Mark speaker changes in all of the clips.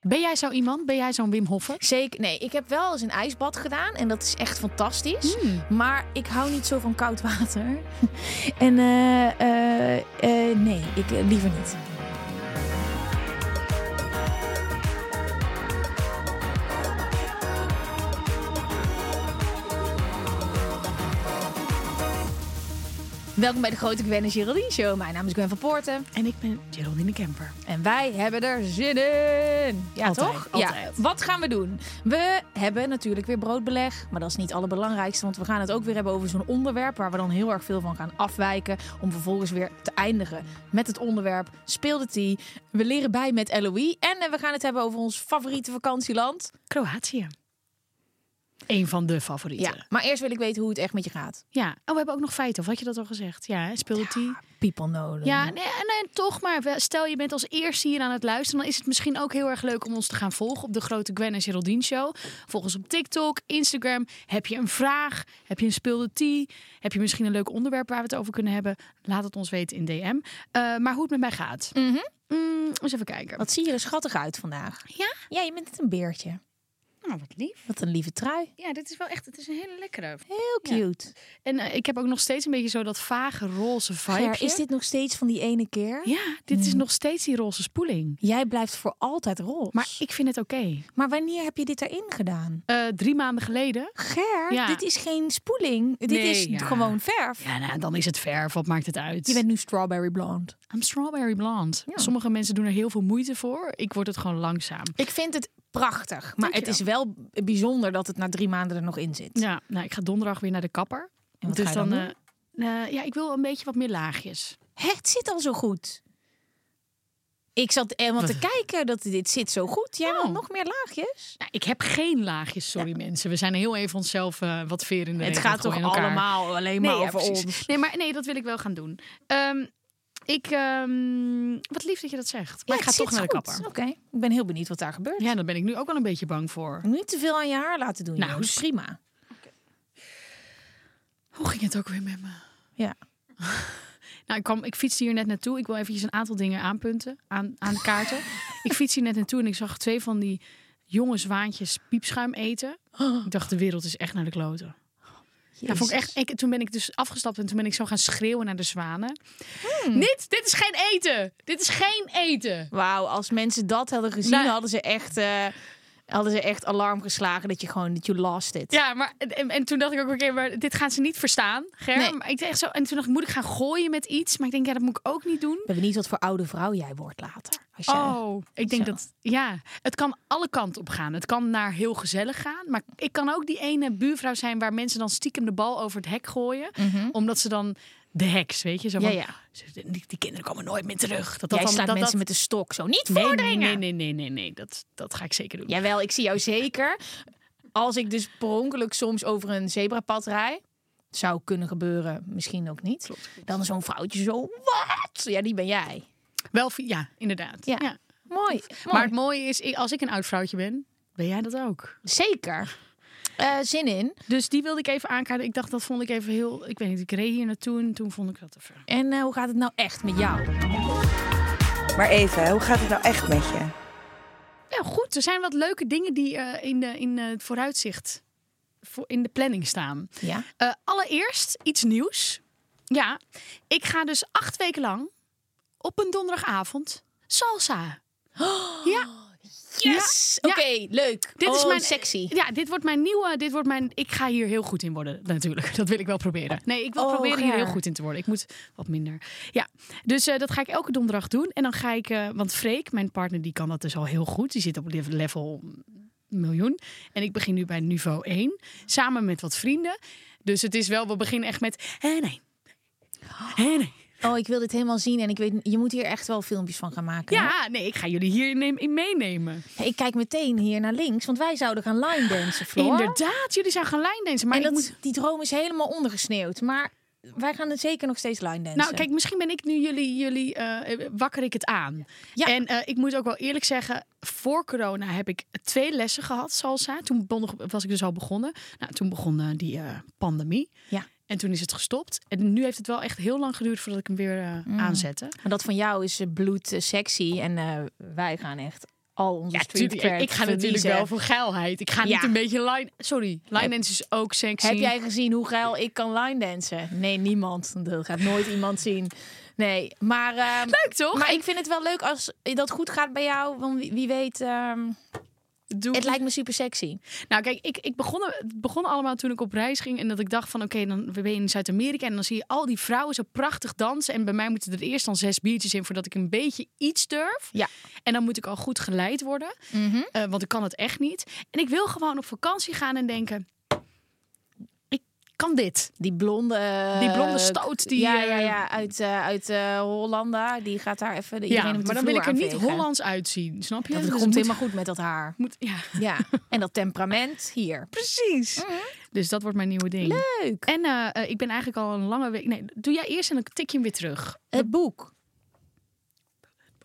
Speaker 1: Ben jij zo iemand? Ben jij zo'n Wim Hoffer?
Speaker 2: Zeker. Nee, ik heb wel eens een ijsbad gedaan en dat is echt fantastisch. Maar ik hou niet zo van koud water. en eh, eh, eh, nee, ik eh, liever niet. Welkom bij de Grote Gwen en Geraldine Show. Mijn naam is Gwen van Poorten.
Speaker 1: En ik ben Geraldine Kemper.
Speaker 2: En wij hebben er zin in. Ja,
Speaker 1: Altijd,
Speaker 2: toch?
Speaker 1: altijd.
Speaker 2: Ja. Wat gaan we doen? We hebben natuurlijk weer broodbeleg. Maar dat is niet het allerbelangrijkste. Want we gaan het ook weer hebben over zo'n onderwerp. Waar we dan heel erg veel van gaan afwijken. Om vervolgens weer te eindigen met het onderwerp. Speelde die. We leren bij met LOE. En eh, we gaan het hebben over ons favoriete vakantieland.
Speaker 1: Kroatië. Eén van de favorieten.
Speaker 2: Ja. Maar eerst wil ik weten hoe het echt met je gaat.
Speaker 1: Ja. Oh, we hebben ook nog feiten. Of had je dat al gezegd? Ja, hè? speelt die?
Speaker 2: People noden.
Speaker 1: Ja, nee, eh, nee, toch maar. wel- Stel je bent als eerste hier aan het luisteren, dan is het misschien ook heel erg leuk om ons te gaan volgen op de grote Gwen en Geraldine show. Volgens op TikTok, Instagram. Heb je een vraag? Heb je een speelde tea? Heb je misschien een leuk onderwerp waar we het over kunnen hebben? Laat het ons weten in DM. Eh, maar hoe het met mij gaat. Mm, eens even kijken.
Speaker 2: Wat zie je er schattig uit vandaag?
Speaker 1: Ja?
Speaker 2: Ja, je bent net een beertje.
Speaker 1: Nou, wat lief.
Speaker 2: Wat een lieve trui.
Speaker 1: Ja, dit is wel echt. Het is een hele lekkere.
Speaker 2: Heel
Speaker 1: Ja.
Speaker 2: cute.
Speaker 1: En eh, ik heb ook nog steeds een beetje zo dat vage roze vibe.
Speaker 2: Ger, is dit nog steeds van die ene keer?
Speaker 1: Ja, dit is nog steeds die roze spoeling.
Speaker 2: Jij blijft voor altijd roze.
Speaker 1: Maar ik vind het oké.
Speaker 2: Maar wanneer heb je dit erin gedaan?
Speaker 1: Eh, drie maanden geleden.
Speaker 2: Ger,
Speaker 1: Ja.
Speaker 2: dit is geen spoeling. Dit
Speaker 1: Nee,
Speaker 2: is
Speaker 1: ja.
Speaker 2: gewoon verf.
Speaker 1: Ja, nou, dan is het verf. Wat maakt het uit?
Speaker 2: Je bent nu strawberry blonde.
Speaker 1: I'm strawberry blonde.
Speaker 2: Ja.
Speaker 1: Sommige mensen doen er heel veel moeite voor. Ik word het gewoon langzaam.
Speaker 2: Ik vind het prachtig. Maar het
Speaker 1: Dankjewel.
Speaker 2: is wel bijzonder dat het na drie maanden er nog in zit.
Speaker 1: Ja, nou, ik ga donderdag weer naar de kapper. Dus
Speaker 2: En wat ga je dan
Speaker 1: eh, eh, ja, ik wil een beetje wat meer laagjes.
Speaker 2: Hè, het zit al zo goed. Ik zat helemaal te kijken dat dit zit zo goed. Jij
Speaker 1: Oh.
Speaker 2: wilt nog meer laagjes?
Speaker 1: Nou, ik heb geen laagjes, sorry mensen. We zijn heel even onszelf eh, wat ver in de
Speaker 2: Het
Speaker 1: reet aan
Speaker 2: gaat toch
Speaker 1: gooien in elkaar.
Speaker 2: allemaal alleen maar
Speaker 1: Nee, ja,
Speaker 2: over
Speaker 1: precies.
Speaker 2: ons?
Speaker 1: Nee, maar nee, dat wil ik wel gaan doen. Ehm, ik, ehm, wat lief dat je dat zegt. Maar
Speaker 2: Ja,
Speaker 1: ik ga
Speaker 2: het
Speaker 1: toch
Speaker 2: zit
Speaker 1: naar de
Speaker 2: goed.
Speaker 1: kapper.
Speaker 2: Oké, ik ben heel benieuwd wat daar gebeurt.
Speaker 1: Ja, daar ben ik nu ook wel een beetje bang voor.
Speaker 2: Niet te veel aan je haar laten doen.
Speaker 1: Nou,
Speaker 2: Nou, is
Speaker 1: s-
Speaker 2: prima.
Speaker 1: Hoe ging het ook weer met me?
Speaker 2: Ja.
Speaker 1: Nou, ik, kwam, ik fietste hier net naartoe. Ik wil eventjes een aantal dingen aanpunten, aan, aan de kaarten. ik fietste hier net naartoe en ik zag twee van die jonge zwaantjes piepschuim eten.
Speaker 2: Oh.
Speaker 1: Ik dacht, de wereld is echt naar de kloten. Ja, vond ik echt, ik, toen ben ik dus afgestapt en toen ben ik zo gaan schreeuwen naar de zwanen.
Speaker 2: Hmm.
Speaker 1: Niet, dit is geen eten! Dit is geen eten!
Speaker 2: Wauw, als mensen dat hadden gezien,
Speaker 1: Nou-
Speaker 2: hadden, ze echt, eh, hadden ze echt alarm geslagen dat je gewoon dat je lost it.
Speaker 1: Ja, maar en, en toen dacht ik ook, oké, maar dit gaan ze niet verstaan, Ger.
Speaker 2: Nee.
Speaker 1: Maar ik dacht echt zo, en toen dacht ik, moet ik gaan gooien met iets? Maar ik denk, ja, dat moet ik ook niet doen.
Speaker 2: We hebben niet wat voor oude vrouw jij wordt later. Als je,
Speaker 1: Oh, ik denk
Speaker 2: Zo.
Speaker 1: dat ja, het kan alle kanten op gaan. Het kan naar heel gezellig gaan, maar ik kan ook die ene buurvrouw zijn waar mensen dan stiekem de bal over het hek gooien, omdat ze dan de heks, weet je, zo
Speaker 2: Mhm. Ja,
Speaker 1: van,
Speaker 2: ja.
Speaker 1: ze- Die, die kinderen komen nooit meer terug. Dat, dat
Speaker 2: jij
Speaker 1: dan,
Speaker 2: slaat
Speaker 1: dat,
Speaker 2: mensen
Speaker 1: dat-
Speaker 2: met de stok zo. Niet
Speaker 1: Nee,
Speaker 2: voordringen!
Speaker 1: Nee, nee, nee, nee, nee, dat dat ga ik zeker doen.
Speaker 2: Jawel, ik zie jou zeker. Als ik dus per ongeluk soms over een zebrapad rij, zou kunnen gebeuren, misschien ook niet. Dan zo'n vrouwtje zo, wat? Ja, die ben jij.
Speaker 1: Wel, vi- ja, inderdaad.
Speaker 2: Ja. Mooi.
Speaker 1: Maar
Speaker 2: mooi.
Speaker 1: het mooie is, i- als ik een oud vrouwtje ben, ben jij dat ook.
Speaker 2: Zeker. Eh, zin in.
Speaker 1: Dus die wilde ik even aankaarten. Ik dacht, dat vond ik even heel. Ik weet niet, ik reed hier naartoe en toen vond ik dat te ver.
Speaker 2: En eh, hoe gaat het nou echt met jou?
Speaker 3: Maar even, hoe gaat het nou echt met je?
Speaker 2: Ja,
Speaker 1: Ja, goed. Er zijn wat leuke dingen die eh, in, de, in eh, het vooruitzicht voor, in de planning staan.
Speaker 2: Ja.
Speaker 1: Eh, allereerst iets nieuws. Ja, ik ga dus acht weken lang op een donderdagavond salsa. Ja,
Speaker 2: Yes!
Speaker 1: Ja.
Speaker 2: Oké, leuk.
Speaker 1: dit is
Speaker 2: Oh,
Speaker 1: mijn
Speaker 2: sexy.
Speaker 1: Ja, dit wordt mijn nieuwe. Dit wordt mijn. Ik ga hier heel goed in worden, natuurlijk. Dat wil ik wel proberen. Nee, ik wil
Speaker 2: Oh,
Speaker 1: proberen hier
Speaker 2: Ger.
Speaker 1: heel goed in te worden. Ik moet wat minder. Ja, dus eh, dat ga ik elke donderdag doen. En dan ga ik, eh, want Freek, mijn partner, die kan dat dus al heel goed. Die zit op lev- level miljoen. En ik begin nu bij niveau 1. Samen met wat vrienden. Dus het is wel, we beginnen echt met. Hé, nee. Hé, nee.
Speaker 2: Oh, ik wil dit helemaal zien en ik weet, je moet hier echt wel filmpjes van gaan maken. hè?
Speaker 1: Ja, nee, ik ga jullie hier neem- in meenemen.
Speaker 2: Hey, Ik kijk meteen hier naar links, want wij zouden gaan line dansen, Floor.
Speaker 1: Inderdaad, jullie zijn gaan lijndansen. Maar
Speaker 2: en dat,
Speaker 1: ik moet...
Speaker 2: die droom is helemaal ondergesneeuwd, maar wij gaan het zeker nog steeds line dansen.
Speaker 1: Nou, kijk, misschien ben ik nu jullie, jullie eh, wakker ik het aan.
Speaker 2: Ja.
Speaker 1: En eh, ik moet ook wel eerlijk zeggen, voor corona heb ik twee lessen gehad, salsa. Toen begon- was ik dus al begonnen. Nou, toen begon eh, die eh, pandemie.
Speaker 2: Ja.
Speaker 1: En toen is het gestopt. En nu heeft het wel echt heel lang geduurd voordat ik hem weer eh,
Speaker 2: Mm.
Speaker 1: aanzette.
Speaker 2: Maar dat van jou is eh, bloed eh, sexy en eh, wij gaan echt al onze
Speaker 1: Ja,
Speaker 2: street
Speaker 1: tuurlijk. Ik,
Speaker 2: cred
Speaker 1: ik ga natuurlijk
Speaker 2: verliezen.
Speaker 1: wel voor geilheid. Ik ga
Speaker 2: Ja.
Speaker 1: niet een beetje line... Sorry, line
Speaker 2: Heb-
Speaker 1: dance is ook sexy.
Speaker 2: Heb jij gezien hoe geil ik kan line dansen? Nee, niemand. Dat gaat nooit iemand zien. Nee, maar... ehm,
Speaker 1: Leuk, toch?
Speaker 2: Maar ik vind het wel leuk als dat goed gaat bij jou. Want wie, wie weet, ehm,
Speaker 1: Doe-
Speaker 2: het lijkt me super sexy.
Speaker 1: Nou, kijk, ik, ik begon, het begon allemaal toen ik op reis ging. En dat ik dacht van, oké, dan ben je in Zuid-Amerika. En dan zie je al die vrouwen zo prachtig dansen. En bij mij moeten er eerst dan zes biertjes in... voordat ik een beetje iets durf.
Speaker 2: Ja.
Speaker 1: En dan moet ik al goed geleid worden. eh, want ik kan het echt niet. En ik wil gewoon op vakantie gaan en denken... Ik kan dit.
Speaker 2: Die blonde... eh,
Speaker 1: Die blonde stoot die,
Speaker 2: Ja,
Speaker 1: eh,
Speaker 2: ja, ja. Uit, eh, uit eh, Hollanda. Die gaat daar even iedereen
Speaker 1: Ja,
Speaker 2: op de
Speaker 1: maar dan wil
Speaker 2: vloer
Speaker 1: ik er niet
Speaker 2: aanvegen.
Speaker 1: Hollands uitzien, snap je?
Speaker 2: Dat
Speaker 1: Dus
Speaker 2: komt
Speaker 1: het moet-
Speaker 2: helemaal goed met dat haar.
Speaker 1: moet, ja,
Speaker 2: Ja. en dat temperament hier.
Speaker 1: precies. Dus dat wordt mijn nieuwe ding.
Speaker 2: Leuk.
Speaker 1: En eh, eh, ik ben eigenlijk al een lange week... Nee, doe jij eerst en dan tik je hem weer terug.
Speaker 2: Het boek.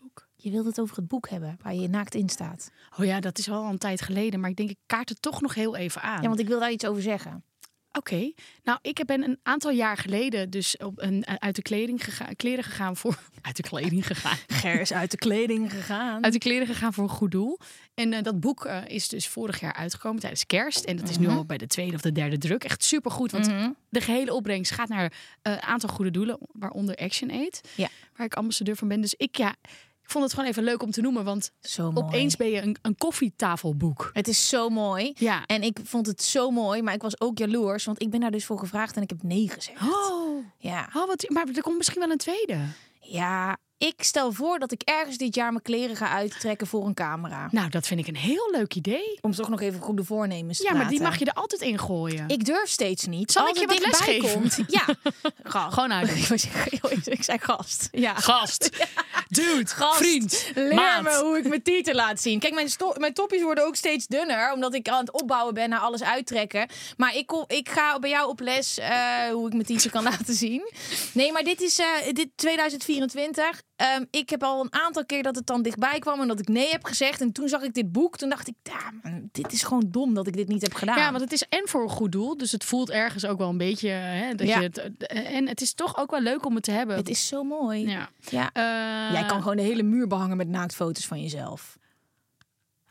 Speaker 1: boek.
Speaker 2: Je wilde het over het boek hebben, waar je naakt in staat.
Speaker 1: Oh ja, dat is wel al een tijd geleden, maar ik denk ik kaart het toch nog heel even aan.
Speaker 2: Ja, want ik wil daar iets over zeggen.
Speaker 1: Oké, nou ik ben een aantal jaar geleden dus op een, uit de kleding gega- kleren gegaan voor uit de kleding gegaan,
Speaker 2: Ger is uit de kleding gegaan.
Speaker 1: uit de kleren gegaan voor een goed doel. En eh, dat boek eh, is dus vorig jaar uitgekomen tijdens Kerst en dat is nu al bij de tweede of de derde druk. Echt supergoed, want de gehele opbrengst gaat naar eh, een aantal goede doelen, waaronder Action Aid,
Speaker 2: Ja.
Speaker 1: waar ik ambassadeur van ben. Dus ik ja, ik vond het gewoon even leuk om te noemen, want
Speaker 2: Zo mooi.
Speaker 1: opeens ben je een, een koffietafelboek.
Speaker 2: Het is zo mooi.
Speaker 1: Ja.
Speaker 2: En ik vond het zo mooi, maar ik was ook jaloers, want ik ben daar dus voor gevraagd en ik heb nee gezegd.
Speaker 1: Oh.
Speaker 2: Ja.
Speaker 1: Oh, wat, maar er komt misschien wel een tweede.
Speaker 2: ja, ik stel voor dat ik ergens dit jaar mijn kleren ga uittrekken voor een camera.
Speaker 1: Nou, dat vind ik een heel leuk idee.
Speaker 2: Om toch nog even goede voornemens te
Speaker 1: Ja, maar die
Speaker 2: laten.
Speaker 1: mag je er altijd in gooien.
Speaker 2: Ik durf steeds niet.
Speaker 1: Zal
Speaker 2: Als
Speaker 1: ik je
Speaker 2: het
Speaker 1: wat
Speaker 2: dichtbij
Speaker 1: lesgeven?
Speaker 2: komt- Ja. Gast.
Speaker 1: Gewoon uit.
Speaker 2: Ik, was- ik zei gast. Ja.
Speaker 1: Gast. Dude.
Speaker 2: Gast,
Speaker 1: Vriend.
Speaker 2: leer
Speaker 1: maat.
Speaker 2: me hoe ik mijn tieten laat zien. Kijk, mijn, sto- mijn topjes worden ook steeds dunner, omdat ik aan het opbouwen ben naar alles uittrekken. Maar ik, kom, ik ga bij jou op les eh, hoe ik mijn tieten kan laten zien. Nee, maar dit is eh, dit 2024. Ehm, ik heb al een aantal keer dat het dan dichtbij kwam en dat ik nee heb gezegd. En toen zag ik dit boek, toen dacht ik, ja, man, dit is gewoon dom dat ik dit niet heb gedaan.
Speaker 1: Ja, want het is en voor een goed doel, dus het voelt ergens ook wel een beetje... Hè, dat
Speaker 2: Ja.
Speaker 1: je het, eh, en het is toch ook wel leuk om het te hebben.
Speaker 2: het is zo mooi.
Speaker 1: Ja.
Speaker 2: Ja.
Speaker 1: Eh,
Speaker 2: Jij kan gewoon de hele muur behangen met naaktfoto's van jezelf.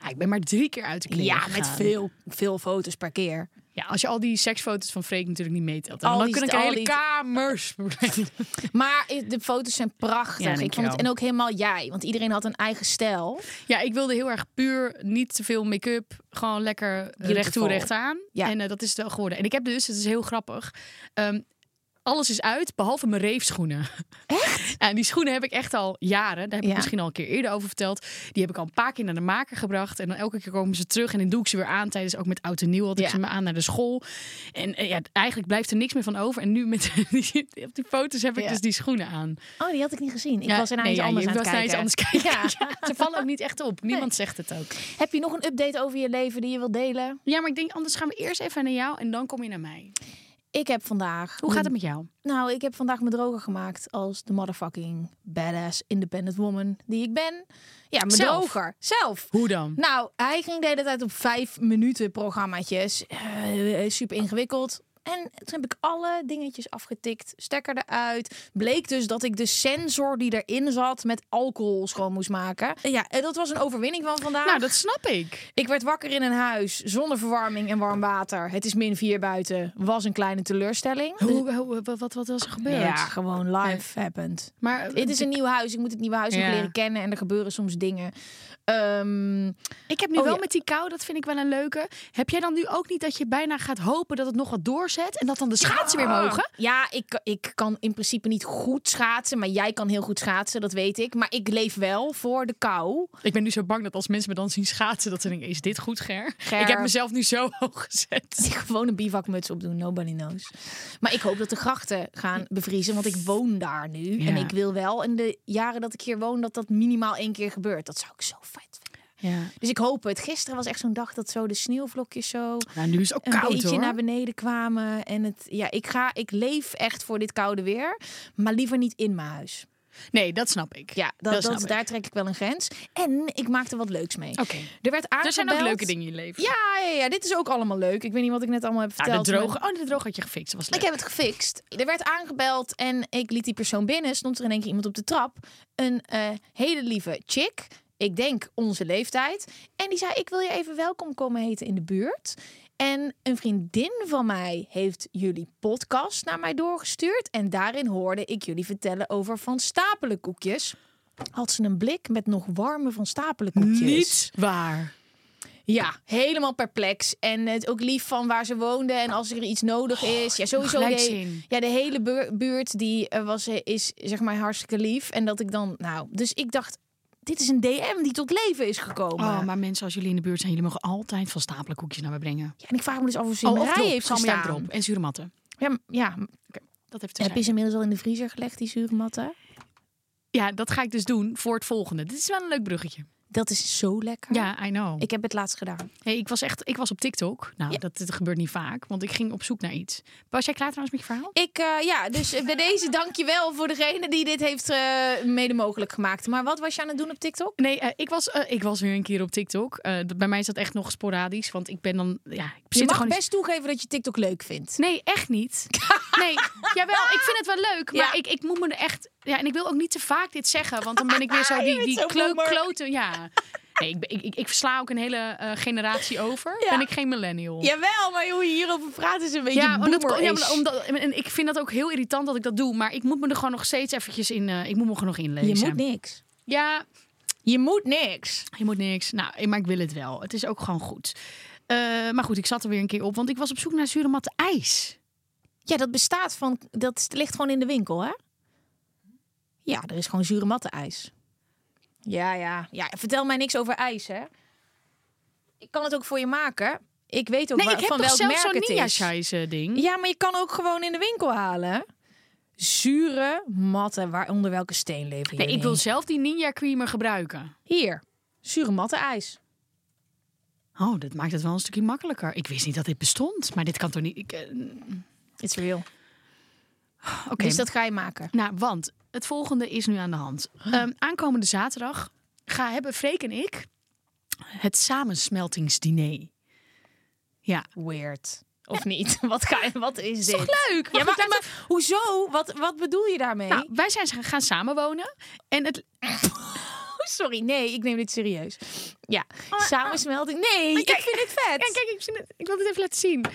Speaker 1: ja, ik ben maar drie keer uit de kleren
Speaker 2: Ja,
Speaker 1: gegaan.
Speaker 2: met veel, veel foto's per keer.
Speaker 1: Ja, als je al die seksfoto's van Freek natuurlijk niet meetelt.
Speaker 2: Al
Speaker 1: Dan, dan
Speaker 2: die-
Speaker 1: kun ik
Speaker 2: al
Speaker 1: hele
Speaker 2: die-
Speaker 1: kamers...
Speaker 2: Maar de foto's zijn prachtig.
Speaker 1: Ja,
Speaker 2: ik vond
Speaker 1: dankjewel.
Speaker 2: het, en ook helemaal jij, want iedereen had een eigen stijl.
Speaker 1: Ja, ik wilde heel erg puur niet te veel make-up. Gewoon lekker eh, recht toe, recht aan.
Speaker 2: Ja.
Speaker 1: En eh, dat is het wel geworden. En ik heb dus, het is heel grappig. ehm, alles is uit, behalve mijn reefschoenen. Echt? En die schoenen heb ik echt al jaren. Daar heb ik
Speaker 2: Ja.
Speaker 1: misschien al een keer eerder over verteld. Die heb ik al een paar keer naar de maker gebracht. En dan elke keer komen ze terug. En dan doe ik ze weer aan tijdens ook met oud en nieuw. Had ik
Speaker 2: Ja.
Speaker 1: ze me aan naar de school. En eh, ja, eigenlijk blijft er niks meer van over. En nu met die, op die foto's heb ik
Speaker 2: Ja.
Speaker 1: dus die schoenen aan.
Speaker 2: Oh, die had ik niet gezien. Ik
Speaker 1: Ja,
Speaker 2: was er naar
Speaker 1: nee,
Speaker 2: iets
Speaker 1: ja,
Speaker 2: anders
Speaker 1: je
Speaker 2: aan het
Speaker 1: was naar iets
Speaker 2: kijken.
Speaker 1: anders kijken.
Speaker 2: Ja.
Speaker 1: Ja, ze vallen ook niet echt op. Niemand zegt het ook.
Speaker 2: Heb je nog een update over je leven die je wilt delen?
Speaker 1: Ja, maar ik denk, anders gaan we eerst even naar jou en dan kom je naar mij.
Speaker 2: Ik heb vandaag...
Speaker 1: Hoe gaat het met jou?
Speaker 2: Nou, ik heb vandaag me droger gemaakt als de motherfucking badass independent woman die ik ben. Ja, me
Speaker 1: Zelf?
Speaker 2: droger. Zelf.
Speaker 1: Hoe dan?
Speaker 2: Nou, hij ging de hele tijd op vijf minuten programmaatjes. Eh, super ingewikkeld. En toen heb ik alle dingetjes afgetikt, stekker eruit. Bleek dus dat ik de sensor die erin zat met alcohol schoon moest maken. En Ja, en dat was een overwinning van vandaag.
Speaker 1: Nou, dat snap ik.
Speaker 2: Ik werd wakker in een huis zonder verwarming en warm water. Het is min 4 buiten. Was een kleine teleurstelling.
Speaker 1: Hoe, hoe- wat, wat was er gebeurd?
Speaker 2: Ja, gewoon life happened.
Speaker 1: Maar eh,
Speaker 2: Dit is een nieuw huis. Ik moet het nieuwe huis
Speaker 1: Ja.
Speaker 2: nog leren kennen. En er gebeuren soms dingen. Ehm,
Speaker 1: ik heb nu
Speaker 2: Oh,
Speaker 1: wel
Speaker 2: ja.
Speaker 1: met die kou, dat vind ik wel een leuke. Heb jij dan nu ook niet dat je bijna gaat hopen dat het nog wat doorzet en dat dan de schaatsen weer mogen?
Speaker 2: Ah, ja, ik, ik kan in principe niet goed schaatsen. Maar jij kan heel goed schaatsen, dat weet ik. Maar ik leef wel voor de kou.
Speaker 1: Ik ben nu zo bang dat als mensen me dan zien schaatsen, dat ze denken, is dit goed, Ger?
Speaker 2: Ger.
Speaker 1: Ik heb mezelf nu zo hoog gezet.
Speaker 2: Gewoon een bivakmuts opdoen, nobody knows. Maar ik hoop dat de grachten gaan bevriezen, want ik woon daar nu. En
Speaker 1: Ja.
Speaker 2: ik wil wel in de jaren dat ik hier woon, dat dat minimaal één keer gebeurt. Dat zou ik zo vet vinden.
Speaker 1: Ja.
Speaker 2: Dus ik hoop het. Gisteren was echt zo'n dag dat zo de sneeuwvlokjes zo
Speaker 1: Nou, nu is het ook
Speaker 2: een
Speaker 1: koud,
Speaker 2: beetje
Speaker 1: hoor.
Speaker 2: naar beneden kwamen. En het, ja, ik, ga, ik leef echt voor dit koude weer, maar liever niet in mijn huis.
Speaker 1: Nee, dat snap ik.
Speaker 2: Ja,
Speaker 1: Dat
Speaker 2: dat, dat,
Speaker 1: snap ik.
Speaker 2: daar trek ik wel een grens. En ik maakte wat leuks mee.
Speaker 1: Oké.
Speaker 2: Er werd aangebeld.
Speaker 1: Er zijn ook leuke dingen in je leven.
Speaker 2: Ja, ja, ja, dit is ook allemaal leuk. Ik weet niet wat ik net allemaal heb
Speaker 1: Nou, de
Speaker 2: verteld. maar-
Speaker 1: droge, oh, de droge had je gefixt. Dat was leuk.
Speaker 2: Ik heb het gefixt. Er werd aangebeld en ik liet die persoon binnen. Stond er in één keer iemand op de trap. Een eh, hele lieve chick. Ik denk onze leeftijd. En die zei, ik wil je even welkom komen heten in de buurt. En een vriendin van mij heeft jullie podcast naar mij doorgestuurd. En daarin hoorde ik jullie vertellen over Van Stapelen koekjes. Had ze een blik met nog warme Van Stapelen koekjes.
Speaker 1: Niet waar.
Speaker 2: Ja, helemaal perplex. En het ook lief van waar ze woonden. En als er iets nodig is. Ja, sowieso.
Speaker 1: Oh, gelijk
Speaker 2: De,
Speaker 1: zin.
Speaker 2: ja, de hele buur- buurt die eh, was, eh, is zeg maar hartstikke lief. En dat ik dan, nou, dus ik dacht, dit is een DM die tot leven is gekomen.
Speaker 1: Oh, maar mensen, als jullie in de buurt zijn, jullie mogen altijd van stapelen koekjes naar me brengen.
Speaker 2: ja, en ik vraag me dus af of ze in
Speaker 1: Oh,
Speaker 2: de
Speaker 1: of
Speaker 2: rij
Speaker 1: drop,
Speaker 2: heeft
Speaker 1: salmiak
Speaker 2: gestaan.
Speaker 1: drop en zure matten.
Speaker 2: Ja, m- ja.
Speaker 1: Dat heeft
Speaker 2: heb je ze inmiddels al in de vriezer gelegd, die zure matten?
Speaker 1: Ja, dat ga ik dus doen voor het volgende. Dit is wel een leuk bruggetje.
Speaker 2: Dat is zo lekker.
Speaker 1: Ja, I know. Ik,
Speaker 2: Ik heb het laatst gedaan.
Speaker 1: hey, ik was echt, ik was op TikTok. Nou,
Speaker 2: Ja.
Speaker 1: dat, dat gebeurt niet vaak, want ik ging op zoek naar iets. Was jij klaar trouwens met je verhaal?
Speaker 2: Ik, eh, ja, dus eh, bij deze dankjewel voor degene die dit heeft eh, mede mogelijk gemaakt. Maar wat was je aan het doen op TikTok?
Speaker 1: Nee, eh, ik, was, eh, ik was weer een keer op TikTok. Eh, dat- bij mij is dat echt nog sporadisch, want ik ben dan, ja, ik
Speaker 2: Je
Speaker 1: zit er
Speaker 2: mag
Speaker 1: gewoon
Speaker 2: best toegeven dat je TikTok leuk vindt.
Speaker 1: Nee, echt niet. Nee, jawel, ik vind het wel leuk. Maar
Speaker 2: Ja.
Speaker 1: ik, ik moet me er echt... Ja, en ik wil ook niet te vaak dit zeggen. Want dan ben ik weer zo die, die
Speaker 2: Ah, zo
Speaker 1: klo-
Speaker 2: boomer.
Speaker 1: kloten. Ja. Nee, ik, ben- ik, ik, ik versla ook een hele eh, generatie over.
Speaker 2: Ja.
Speaker 1: Ben ik geen millennial.
Speaker 2: Jawel, maar hoe je hierover praat is een beetje
Speaker 1: Ja,
Speaker 2: ja,
Speaker 1: omdat, ja maar omdat, en ik vind dat ook heel irritant dat ik dat doe. Maar ik moet me er gewoon nog steeds eventjes in... eh, ik moet me gewoon nog inlezen.
Speaker 2: Je moet niks.
Speaker 1: Ja,
Speaker 2: Je moet niks.
Speaker 1: Je moet niks. Nou, maar ik wil het wel. Het is ook gewoon goed. Eh, maar goed, ik zat er weer een keer op. Want ik was op zoek naar zure matte ijs.
Speaker 2: Ja, dat bestaat van... Dat is- ligt gewoon in de winkel, hè? Ja, er is gewoon zure mattenijs. Ja, ja. Ja, vertel mij niks over ijs, hè? Ik kan het ook voor je maken. Ik weet ook
Speaker 1: Nee,
Speaker 2: waar-
Speaker 1: ik heb
Speaker 2: van
Speaker 1: toch
Speaker 2: welk
Speaker 1: zelf
Speaker 2: merk
Speaker 1: zo'n
Speaker 2: het
Speaker 1: Ninja
Speaker 2: is.
Speaker 1: Size ding.
Speaker 2: Ja, maar je kan ook gewoon in de winkel halen. Zure matten, waar, onder welke steen lever je
Speaker 1: Nee, ik
Speaker 2: in?
Speaker 1: wil zelf die ninja creamer gebruiken.
Speaker 2: Hier, zure mattenijs.
Speaker 1: Oh, dat maakt het wel een stukje makkelijker. Ik wist niet dat dit bestond, maar dit kan toch niet. ik, eh,
Speaker 2: It's real.
Speaker 1: Oké,
Speaker 2: Dus dat ga je maken.
Speaker 1: nou, want het volgende is nu aan de hand. Ehm, aankomende zaterdag ga hebben Freek en ik het samensmeltingsdiner. Ja,
Speaker 2: Weird. Of niet? Wat, ga, je- wat is dit?
Speaker 1: toch leuk? Mag
Speaker 2: Ja, maar,
Speaker 1: ik daar
Speaker 2: maar hoezo? Wat, wat bedoel je daarmee?
Speaker 1: Nou, wij zijn gaan samenwonen en het,
Speaker 2: Oh, sorry, nee, ik neem dit serieus. Ja, samensmelting. Nee, ik vind dit vet.
Speaker 1: Ja, kijk, ik, zie het. ik wil dit even laten zien.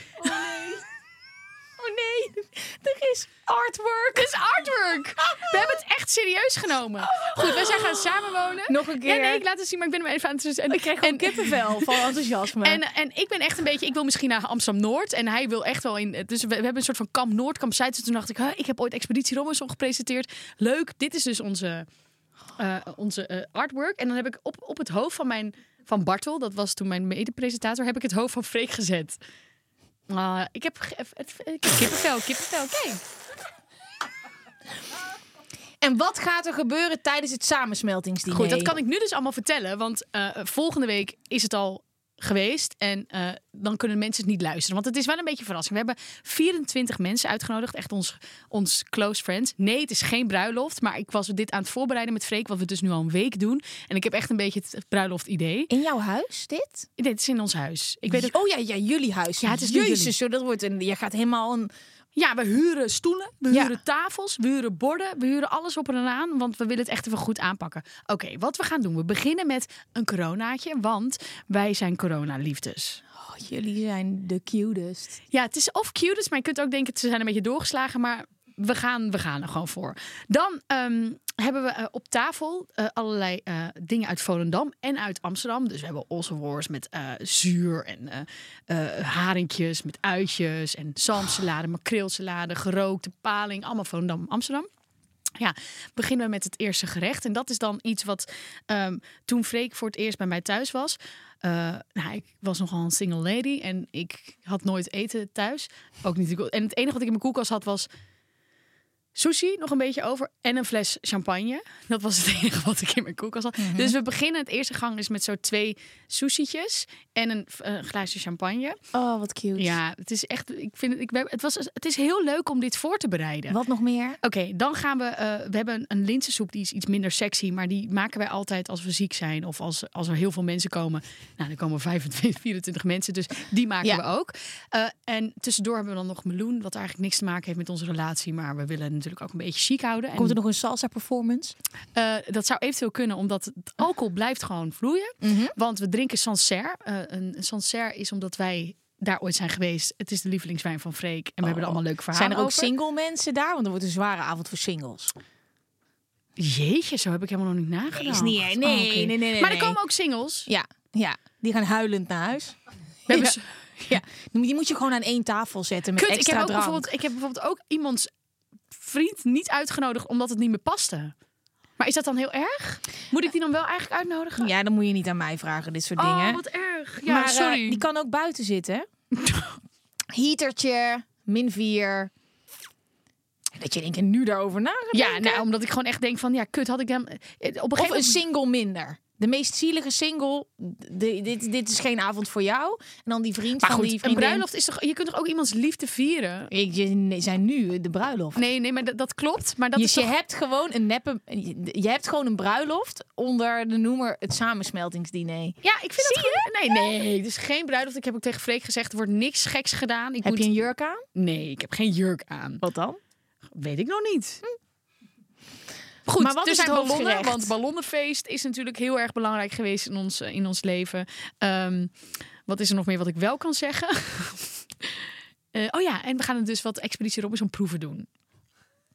Speaker 2: Oh nee, er is artwork.
Speaker 1: Dit is artwork. We hebben het echt serieus genomen. Goed, wij zijn gaan samenwonen.
Speaker 2: Nog een keer.
Speaker 1: Ja, nee, ik laat het zien, maar ik ben hem even aan het... En,
Speaker 2: Ik krijg gewoon kippenvel van enthousiasme.
Speaker 1: en, en ik ben echt een beetje... Ik wil misschien naar Amsterdam-Noord. En hij wil echt wel in... Dus we, we hebben een soort van kamp Noord, kamp Zuid. Dus toen dacht ik, huh, ik heb ooit Expeditie Robinson gepresenteerd. Leuk, dit is dus onze, eh, onze eh, artwork. En dan heb ik op, op het hoofd van mijn... Van Bartel, dat was toen mijn mede-presentator, heb ik het hoofd van Freek gezet. Ah, ik heb ge- het- ik heb kippenvel, kippenvel, kijk.
Speaker 2: En wat gaat er gebeuren tijdens het samensmeltingsdiner?
Speaker 1: Goed, dat kan ik nu dus allemaal vertellen. Want eh, volgende week is het al geweest. En eh, dan kunnen mensen het niet luisteren. Want het is wel een beetje een verrassing. We hebben 24 mensen uitgenodigd. Echt ons, ons close friends. Nee, het is geen bruiloft. Maar ik was dit aan het voorbereiden met Freek. Wat we dus nu al een week doen. En ik heb echt een beetje het bruiloft idee.
Speaker 2: In jouw huis, dit?
Speaker 1: Nee, het is in ons huis. Ik weet ook,
Speaker 2: Oh ja, ja, jullie huis.
Speaker 1: Ja, het is nu jullie.
Speaker 2: Jezus, joh, dat wordt een, je gaat helemaal een...
Speaker 1: ja, we huren stoelen, we
Speaker 2: Ja.
Speaker 1: huren tafels, we huren borden, we huren alles op en aan, want we willen het echt even goed aanpakken. Oké, wat we gaan doen, we beginnen met een coronaatje, want wij zijn coronaliefdes.
Speaker 2: Oh, jullie zijn de cutest.
Speaker 1: Ja, het is of cutest, maar je kunt ook denken, ze zijn een beetje doorgeslagen, maar we gaan, we gaan er gewoon voor. Dan ehm, hebben we eh, op tafel eh, allerlei eh, dingen uit Volendam en uit Amsterdam. Dus we hebben ossenworst met eh, zuur en eh, eh, haringjes met uitjes en zalmsalade, makreelsalade, gerookte paling, allemaal Volendam, Amsterdam. Ja, beginnen we met het eerste gerecht. En dat is dan iets wat ehm, toen Freek voor het eerst bij mij thuis was. eh, nou, ik was nogal een single lady en ik had nooit eten thuis. Ook niet. de ko- En het enige wat ik in mijn koelkast had was sushi, nog een beetje over. En een fles champagne. Dat was het enige wat ik in mijn koelkast had. Dus we beginnen, het eerste gang is met zo twee sushietjes en een, eh, een glaasje champagne.
Speaker 2: Oh, wat cute.
Speaker 1: Ja, het is echt, ik vind het, ik, ben- het, was, het is heel leuk om dit voor te bereiden.
Speaker 2: Wat nog meer?
Speaker 1: Oké, dan gaan we. eh, we hebben een, een linzensoep die is iets minder sexy, maar die maken wij altijd als we ziek zijn of als, als er heel veel mensen komen. Nou, dan komen 25, 24 mensen, dus die maken
Speaker 2: Ja.
Speaker 1: we ook. Eh, en tussendoor hebben we dan nog meloen, wat eigenlijk niks te maken heeft met onze relatie, maar we willen natuurlijk ook een beetje chic houden. En,
Speaker 2: Komt er nog een salsa performance?
Speaker 1: eh, dat zou eventueel kunnen, omdat het alcohol blijft gewoon vloeien.
Speaker 2: Mhm.
Speaker 1: Want we drinken Sancerre. Eh, een, een Sancerre is omdat wij daar ooit zijn geweest. Het is de lievelingswijn van Freek en we hebben er allemaal leuke verhalen
Speaker 2: Oh. Zijn er ook
Speaker 1: over.
Speaker 2: single mensen daar? Want er wordt een zware avond voor singles.
Speaker 1: Jeetje, zo heb ik helemaal nog niet nagedacht.
Speaker 2: is niet, hè?
Speaker 1: Oh,
Speaker 2: Nee,
Speaker 1: oké.
Speaker 2: nee, nee, nee,
Speaker 1: Maar er
Speaker 2: nee.
Speaker 1: komen ook singles.
Speaker 2: Ja, ja. Die gaan huilend naar huis.
Speaker 1: We hebben s-
Speaker 2: Ja. Die moet je gewoon aan één tafel zetten met
Speaker 1: Kut, ik
Speaker 2: extra
Speaker 1: heb, ook
Speaker 2: drank.
Speaker 1: bijvoorbeeld, ik heb bijvoorbeeld ook iemands vriend niet uitgenodigd omdat het niet meer paste. Maar is dat dan heel erg? Moet ik die dan wel eigenlijk uitnodigen?
Speaker 2: Ja, dan moet je niet aan mij vragen, dit soort
Speaker 1: Oh,
Speaker 2: dingen.
Speaker 1: wat erg. Ja,
Speaker 2: maar eh,
Speaker 1: sorry.
Speaker 2: die kan ook buiten zitten. hè? Heatertje, min 4. Dat je denkt, en nu daarover na gaat
Speaker 1: ja,
Speaker 2: denken.
Speaker 1: nou, omdat ik gewoon echt denk van, ja, kut, had ik hem... eh, Op een
Speaker 2: Of
Speaker 1: gegeven
Speaker 2: een
Speaker 1: moment...
Speaker 2: single minder. De meest zielige single. de- dit, dit is geen avond voor jou. En dan die vriend
Speaker 1: Maar
Speaker 2: van
Speaker 1: goed,
Speaker 2: die
Speaker 1: een
Speaker 2: vriendin.
Speaker 1: bruiloft is toch... Je kunt toch ook iemands liefde vieren?
Speaker 2: Ik, je nee, zijn nu de bruiloft.
Speaker 1: Nee, nee, maar dat, dat klopt. Maar dat
Speaker 2: Dus
Speaker 1: is
Speaker 2: je
Speaker 1: toch...
Speaker 2: hebt gewoon een neppe. Je hebt gewoon een bruiloft onder de noemer het samensmeltingsdiner.
Speaker 1: Ja, ik vind dat gewoon- Nee, nee, het is geen bruiloft. Ik heb ook tegen Freek gezegd, er wordt niks geks gedaan. Ik
Speaker 2: Heb
Speaker 1: moet...
Speaker 2: je een jurk aan?
Speaker 1: Nee, ik heb geen jurk aan.
Speaker 2: Wat dan?
Speaker 1: Weet ik nog niet. Goed,
Speaker 2: Maar wat
Speaker 1: er
Speaker 2: is
Speaker 1: zijn
Speaker 2: het
Speaker 1: ballonnen,
Speaker 2: hoofdgerecht?
Speaker 1: want ballonnenfeest is natuurlijk heel erg belangrijk geweest in ons, eh, in ons leven. Ehm, wat is er nog meer wat ik wel kan zeggen? Eh, oh ja, en we gaan het dus wat Expeditie Robinson proeven doen.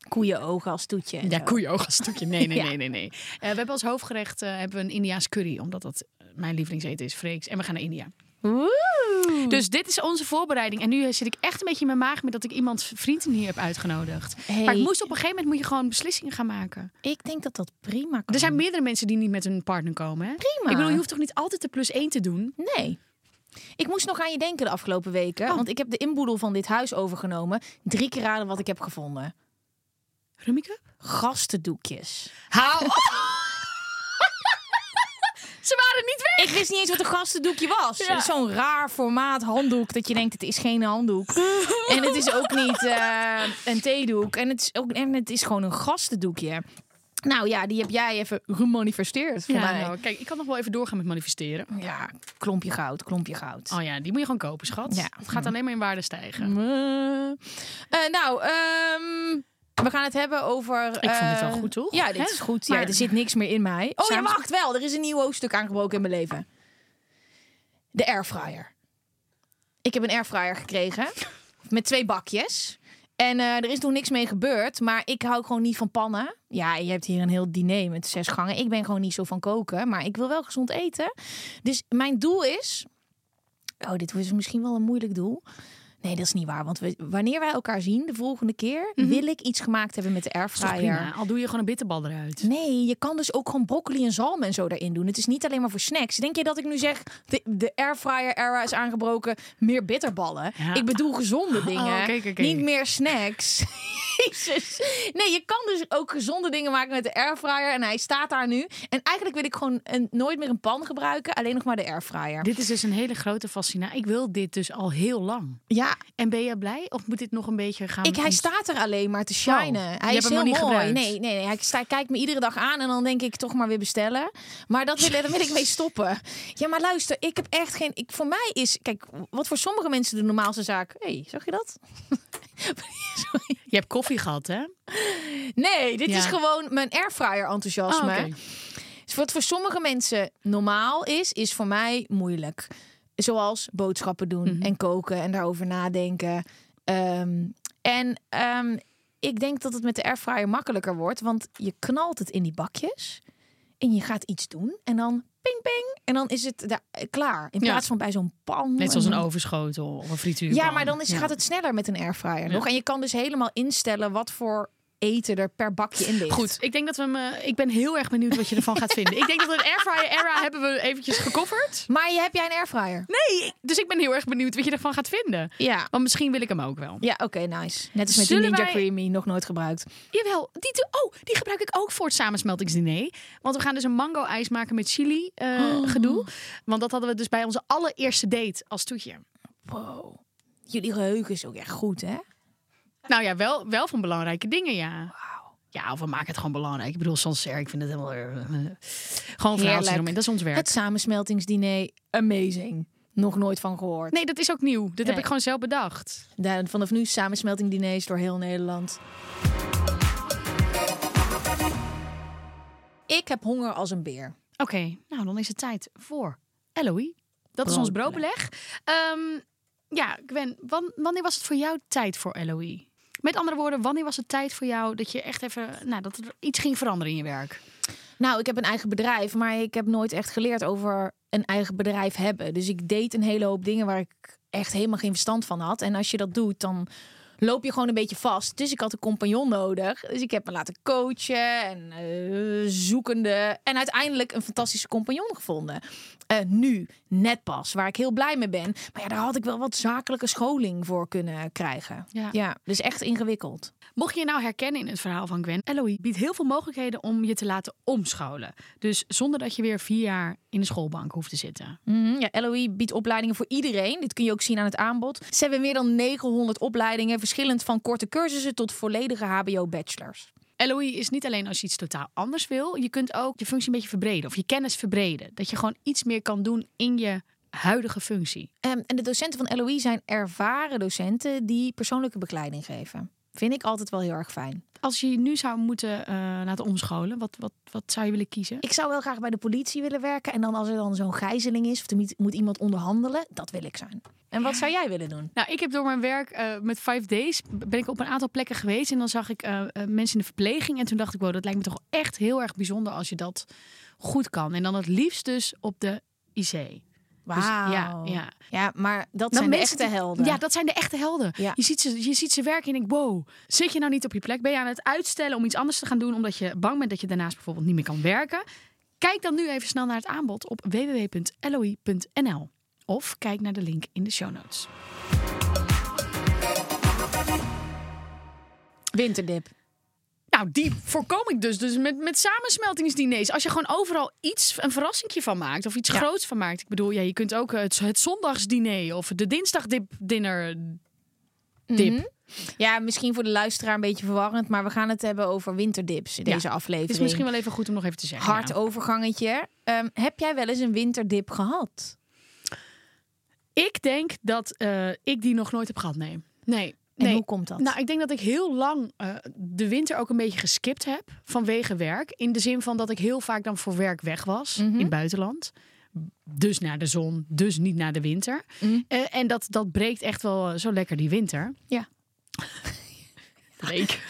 Speaker 2: Koeienogen als toetje. en
Speaker 1: Ja,
Speaker 2: zo.
Speaker 1: koeienoog als stukje. Nee, nee,
Speaker 2: Ja.
Speaker 1: nee, nee. nee. Eh, we hebben als hoofdgerecht eh, hebben we een Indiaas curry, omdat dat eh, mijn lievelingseten is, Freeks. En we gaan naar India.
Speaker 2: Woe!
Speaker 1: Dus dit is onze voorbereiding. En nu eh, zit ik echt een beetje in mijn maag met dat ik iemands vrienden hier heb uitgenodigd. Maar
Speaker 2: Hey.
Speaker 1: ik moest op een gegeven moment moet je gewoon beslissingen gaan maken.
Speaker 2: Ik denk dat dat prima kan.
Speaker 1: Er zijn meerdere mensen die niet met hun partner komen. Hè?
Speaker 2: Prima.
Speaker 1: Ik bedoel, je hoeft toch niet altijd de plus één te doen?
Speaker 2: Nee. Ik moest nog aan je denken de afgelopen weken.
Speaker 1: Oh.
Speaker 2: Want ik heb de inboedel van dit huis overgenomen. Drie keer raden wat ik heb gevonden.
Speaker 1: Rummikub?
Speaker 2: Gastendoekjes.
Speaker 1: Hou Ze waren niet weg!
Speaker 2: Ik wist niet eens wat een gastendoekje was.
Speaker 1: Ja.
Speaker 2: Zo'n raar formaat handdoek dat je denkt het is geen handdoek. en het is ook niet eh, een theedoek. En het, is ook, en het is gewoon een gastendoekje. Nou ja, die heb jij even gemanifesteerd voor
Speaker 1: Ja,
Speaker 2: mij.
Speaker 1: nou, kijk, ik kan nog wel even doorgaan met manifesteren.
Speaker 2: Ja, klompje goud, klompje goud.
Speaker 1: Oh ja, die moet je gewoon kopen, schat.
Speaker 2: Ja.
Speaker 1: Het gaat alleen maar in waarde stijgen.
Speaker 2: Eh, eh, nou, ehm, we gaan het hebben over.
Speaker 1: Ik vond dit wel
Speaker 2: eh,
Speaker 1: goed, toch?
Speaker 2: Ja, dit
Speaker 1: Hè?
Speaker 2: is goed.
Speaker 1: Maar-
Speaker 2: Ja, er zit niks meer in mij. Oh ja,
Speaker 1: Samen-
Speaker 2: wacht wel. Er is een nieuw hoofdstuk aangebroken in mijn leven. De airfryer. Ik heb een airfryer gekregen met twee bakjes. En eh, er is nog niks mee gebeurd, maar ik hou gewoon niet van pannen. Ja, je hebt hier een heel diner met zes gangen. Ik ben gewoon niet zo van koken, maar ik wil wel gezond eten. Dus mijn doel is. Oh, dit is misschien wel een moeilijk doel. Nee, dat is niet waar. Want we, wanneer wij elkaar zien de volgende keer, wil ik iets gemaakt hebben met de
Speaker 1: is toch
Speaker 2: airfryer.
Speaker 1: prima. Al doe je gewoon een bitterbal eruit.
Speaker 2: Nee, je kan dus ook gewoon broccoli en zalm en zo daarin doen. Het is niet alleen maar voor snacks. Denk je dat ik nu zeg, de, de airfryer era is aangebroken, meer bitterballen?
Speaker 1: Ja. Oh,
Speaker 2: Ik bedoel gezonde dingen,
Speaker 1: oké, oké, oké.
Speaker 2: niet meer snacks. Jezus. Nee, je kan dus ook gezonde dingen maken met de airfryer. En hij staat daar nu. En eigenlijk wil ik gewoon een, nooit meer een pan gebruiken, alleen nog maar de airfryer.
Speaker 1: Dit is dus een hele grote fascinatie. Ik wil dit dus al heel lang.
Speaker 2: Ja,
Speaker 1: En ben jij blij? Of moet dit nog een beetje gaan?
Speaker 2: Ik, hij staat er alleen maar te shinen.
Speaker 1: je hebt
Speaker 2: hij is
Speaker 1: hem nog
Speaker 2: heel
Speaker 1: niet
Speaker 2: mooi.
Speaker 1: gebruikt.
Speaker 2: Nee, nee, nee. Hij, sta- kijkt me iedere dag aan en dan denk ik toch maar weer bestellen. Maar dat wil, daar wil ik mee stoppen. Ja, maar luister, ik heb echt geen. Ik, voor mij is. Kijk, wat voor sommige mensen de normaalste zaak. Hé, hey, zag je dat? Sorry.
Speaker 1: Je hebt koffie gehad, hè?
Speaker 2: Nee, dit
Speaker 1: Ja.
Speaker 2: is gewoon mijn airfryer enthousiasme.
Speaker 1: Oh, oké.
Speaker 2: Dus wat voor sommige mensen normaal is, is voor mij moeilijk. Zoals boodschappen doen
Speaker 1: Mhm.
Speaker 2: en koken en daarover nadenken. Ehm, en ehm, ik denk dat het met de airfryer makkelijker wordt, want je knalt het in die bakjes en je gaat iets doen en dan ping ping en dan is het daar, eh, klaar. In
Speaker 1: Ja.
Speaker 2: plaats van bij zo'n pan.
Speaker 1: Net zoals
Speaker 2: en
Speaker 1: een
Speaker 2: dan-
Speaker 1: overschotel of een frituur.
Speaker 2: ja, maar dan is, gaat het sneller met een airfryer nog. En je kan dus helemaal instellen wat voor eten er per bakje in ligt.
Speaker 1: Goed, ik denk dat we hem. eh, ik ben heel erg benieuwd wat je ervan gaat vinden. Ik denk dat we de airfryer era hebben we eventjes gecoverd.
Speaker 2: Maar je- heb jij een airfryer?
Speaker 1: Nee, dus ik ben heel erg benieuwd wat je ervan gaat vinden.
Speaker 2: Ja.
Speaker 1: Want misschien wil ik hem ook wel.
Speaker 2: Ja, oké, nice. Net als met
Speaker 1: Zullen
Speaker 2: die Ninja
Speaker 1: wij-
Speaker 2: Creamy, nog nooit gebruikt.
Speaker 1: Jawel, die, doe- oh, die gebruik ik ook voor het samensmeltingsdiner. Want we gaan dus een mango-ijs maken met chili eh, gedoe. Want dat hadden we dus bij onze allereerste date als toetje.
Speaker 2: Wow. Jullie geheugen is ook echt goed, hè?
Speaker 1: Nou ja, wel, wel van belangrijke dingen, ja. Ja, of we maken het gewoon belangrijk. Ik bedoel, soms, eh, ik vind het helemaal... eh, eh, gewoon verhaaltjes
Speaker 2: Heerlijk.
Speaker 1: eromheen, dat is ons werk.
Speaker 2: Het samensmeltingsdiner, amazing. Nog nooit van gehoord.
Speaker 1: Nee, dat is ook nieuw. Dit
Speaker 2: Nee.
Speaker 1: heb ik gewoon zelf bedacht.
Speaker 2: Daar- Vanaf nu samensmeltingdiners door heel Nederland. Ik heb honger als een beer.
Speaker 1: Oké, nou dan is het tijd voor Eloï. Dat is ons broodbeleg. Ehm, ja, Gwen, wan- wanneer was het voor jou tijd voor Eloï? Met andere woorden, wanneer was het tijd voor jou dat je echt even, nou, dat er iets ging veranderen in je werk?
Speaker 2: Nou, ik heb een eigen bedrijf, maar ik heb nooit echt geleerd over een eigen bedrijf hebben. Dus ik deed een hele hoop dingen waar ik echt helemaal geen verstand van had. En als je dat doet, dan loop je gewoon een beetje vast. Dus ik had een compagnon nodig. Dus ik heb me laten coachen en eh, zoekende. En uiteindelijk een fantastische compagnon gevonden. Eh, nu, net pas, waar ik heel blij mee ben. Maar ja, daar had ik wel wat zakelijke scholing voor kunnen krijgen.
Speaker 1: Ja.
Speaker 2: ja dus echt ingewikkeld.
Speaker 1: Mocht je je nou herkennen in het verhaal van Gwen, Eloï biedt heel veel mogelijkheden om je te laten omscholen. Dus zonder dat je weer vier jaar in de schoolbank hoeft te zitten.
Speaker 2: Mhm, ja, LOE biedt opleidingen voor iedereen. Dit kun je ook zien aan het aanbod. Ze hebben meer dan 900 opleidingen, verschillend van korte cursussen tot volledige HBO-bachelors.
Speaker 1: LOE is niet alleen als je iets totaal anders wil. Je kunt ook je functie een beetje verbreden of je kennis verbreden. Dat je gewoon iets meer kan doen in je huidige functie.
Speaker 2: Ehm, en de docenten van LOE zijn ervaren docenten die persoonlijke begeleiding geven. Vind ik altijd wel heel erg fijn.
Speaker 1: Als je je nu zou moeten eh, laten omscholen, wat, wat, wat zou je willen kiezen?
Speaker 2: Ik zou wel graag bij de politie willen werken. En dan als er dan zo'n gijzeling is, of er moet- moet iemand onderhandelen, dat wil ik zijn. En wat zou jij willen doen?
Speaker 1: Nou, ik heb door mijn werk eh, met Five Days ben ik op een aantal plekken geweest en dan zag ik eh, eh, mensen in de verpleging en toen dacht ik, wow, dat lijkt me toch echt heel erg bijzonder als je dat goed kan. En dan het liefst dus op de IC.
Speaker 2: Wauw.
Speaker 1: ja, ja.
Speaker 2: ja, maar
Speaker 1: Nou,
Speaker 2: dat zijn de
Speaker 1: mensen
Speaker 2: echte
Speaker 1: die-
Speaker 2: helden.
Speaker 1: Ja, dat zijn de echte helden.
Speaker 2: Ja.
Speaker 1: Je, ziet ze, je ziet ze werken en je denkt, wow, zit je nou niet op je plek? Ben je aan het uitstellen om iets anders te gaan doen... omdat je bang bent dat je daarnaast bijvoorbeeld niet meer kan werken? Kijk dan nu even snel naar het aanbod op www.loi.nl. Of kijk naar de link in de show notes.
Speaker 2: Winterdip.
Speaker 1: Nou, die voorkom ik dus. Dus met, met samensmeltingsdiners. Als je gewoon overal iets, een verrassingje van maakt. Of iets
Speaker 2: Ja.
Speaker 1: groots van maakt. Ik bedoel, ja, je kunt ook het, het zondagsdiner of de dinsdagdip-dinner... Dip.
Speaker 2: Ja, misschien voor de luisteraar een beetje verwarrend, maar we gaan het hebben over winterdips in
Speaker 1: Ja,
Speaker 2: deze aflevering.
Speaker 1: Is misschien wel even goed om nog even te zeggen.
Speaker 2: hard
Speaker 1: ja.
Speaker 2: overgangetje. Ehm, heb jij wel eens een winterdip gehad?
Speaker 1: Ik denk dat eh, ik die nog nooit heb gehad, nee. Nee.
Speaker 2: En
Speaker 1: nee.
Speaker 2: hoe komt dat?
Speaker 1: Nou, ik denk dat ik heel lang eh, de winter ook een beetje geskipt heb vanwege werk. In de zin van dat ik heel vaak dan voor werk weg was
Speaker 2: Mhm.
Speaker 1: in het buitenland. Dus naar de zon, dus niet naar de winter.
Speaker 2: Mm.
Speaker 1: Eh, en dat, dat breekt echt wel eh, zo lekker die winter.
Speaker 2: Ja.
Speaker 1: Leek.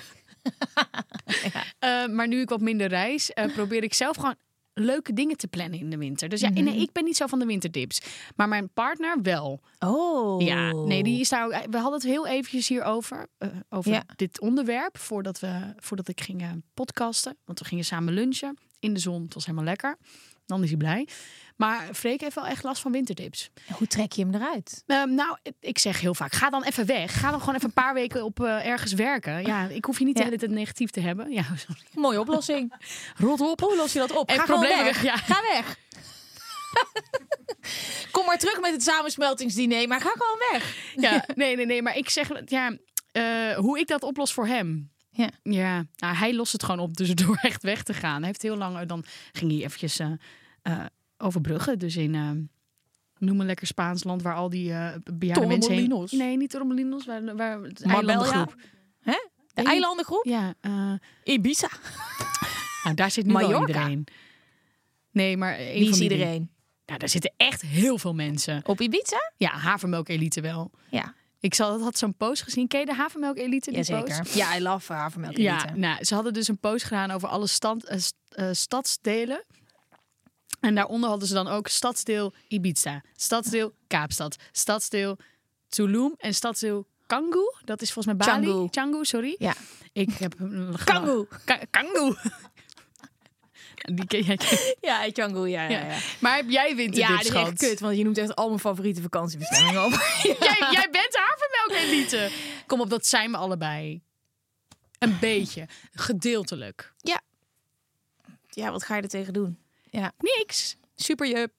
Speaker 1: Eh, maar nu ik wat minder reis, eh, probeer ik zelf gewoon leuke dingen te plannen in de winter. Dus ja,
Speaker 2: Mhm.
Speaker 1: nee, ik ben niet zo van de winterdips. Maar mijn partner wel.
Speaker 2: Oh.
Speaker 1: Ja, nee, die is daar ook- eh, We hadden het heel eventjes hierover. eh, over
Speaker 2: Ja.
Speaker 1: dit onderwerp. Voordat, we, voordat ik ging eh, podcasten. Want we gingen samen lunchen. In de zon. Het was helemaal lekker. Dan is hij blij. Maar Freek heeft wel echt last van winterdips.
Speaker 2: Hoe trek je hem eruit?
Speaker 1: Ehm, nou, ik zeg heel vaak, ga dan even weg. Ga dan gewoon even een paar weken op eh, ergens werken. Ja, ik hoef je niet
Speaker 2: Ja.
Speaker 1: de hele tijd negatief te hebben. Ja, sorry.
Speaker 2: Mooie oplossing. Rot op. Hoe los je dat op?
Speaker 1: Even
Speaker 2: Ga gewoon
Speaker 1: problemen,
Speaker 2: weg.
Speaker 1: ja.
Speaker 2: Ga weg. Kom maar terug met het samensmeltingsdiner, maar ga gewoon weg.
Speaker 1: Ja, nee, nee, nee. Maar ik zeg, ja, eh, hoe ik dat oplos voor hem.
Speaker 2: Ja.
Speaker 1: Ja, nou, hij lost het gewoon op, dus door echt weg te gaan. Hij heeft heel lang, eh, dan ging hij eventjes eh eh, overbruggen. Dus in, eh, noem een lekker Spaans land, waar al die eh bejaarde mensen heen...
Speaker 2: Torremolinos.
Speaker 1: Nee, niet Torremolinos, waar, waar het
Speaker 2: Marbella.
Speaker 1: eilandengroep.
Speaker 2: De
Speaker 1: Weet je-
Speaker 2: eilandengroep?
Speaker 1: Ja, eh,
Speaker 2: Ibiza.
Speaker 1: nou, daar zit nu wel
Speaker 2: Mallorca.
Speaker 1: iedereen. Nee, maar één
Speaker 2: Wie
Speaker 1: van
Speaker 2: is
Speaker 1: die drie.
Speaker 2: iedereen?
Speaker 1: Nou, daar zitten echt heel veel mensen.
Speaker 2: Op Ibiza?
Speaker 1: Ja, havermelk-elite wel.
Speaker 2: Ja,
Speaker 1: Ik zal, had zo'n post gezien. Ken je de havermelk-elite? die
Speaker 2: zeker.
Speaker 1: post?
Speaker 2: Ja, I love havermelk.
Speaker 1: Ja, nou, ze hadden dus een post gedaan over alle stand, eh, st- eh, stadsdelen. En daaronder hadden ze dan ook stadsdeel Ibiza, stadsdeel Kaapstad, stadsdeel Tulum en stadsdeel Canggu. Dat is volgens mij Bali.
Speaker 2: Canggu.
Speaker 1: Canggu, sorry.
Speaker 2: Ja.
Speaker 1: Ik heb een
Speaker 2: Canggu.
Speaker 1: Ka- Canggu. Die ken jij.
Speaker 2: Ja, Canggu, ja, ja, ja.
Speaker 1: Maar heb jij
Speaker 2: Ja,
Speaker 1: winterdips
Speaker 2: dat is echt
Speaker 1: gehad?
Speaker 2: kut, want je noemt echt al mijn favoriete vakantiebestemmingen op.
Speaker 1: jij, jij bent havermelkelite. Kom op, dat zijn we allebei. Een beetje. Gedeeltelijk.
Speaker 2: Ja, wat ga je er tegen doen? Ja,
Speaker 1: Niks.
Speaker 2: super jup.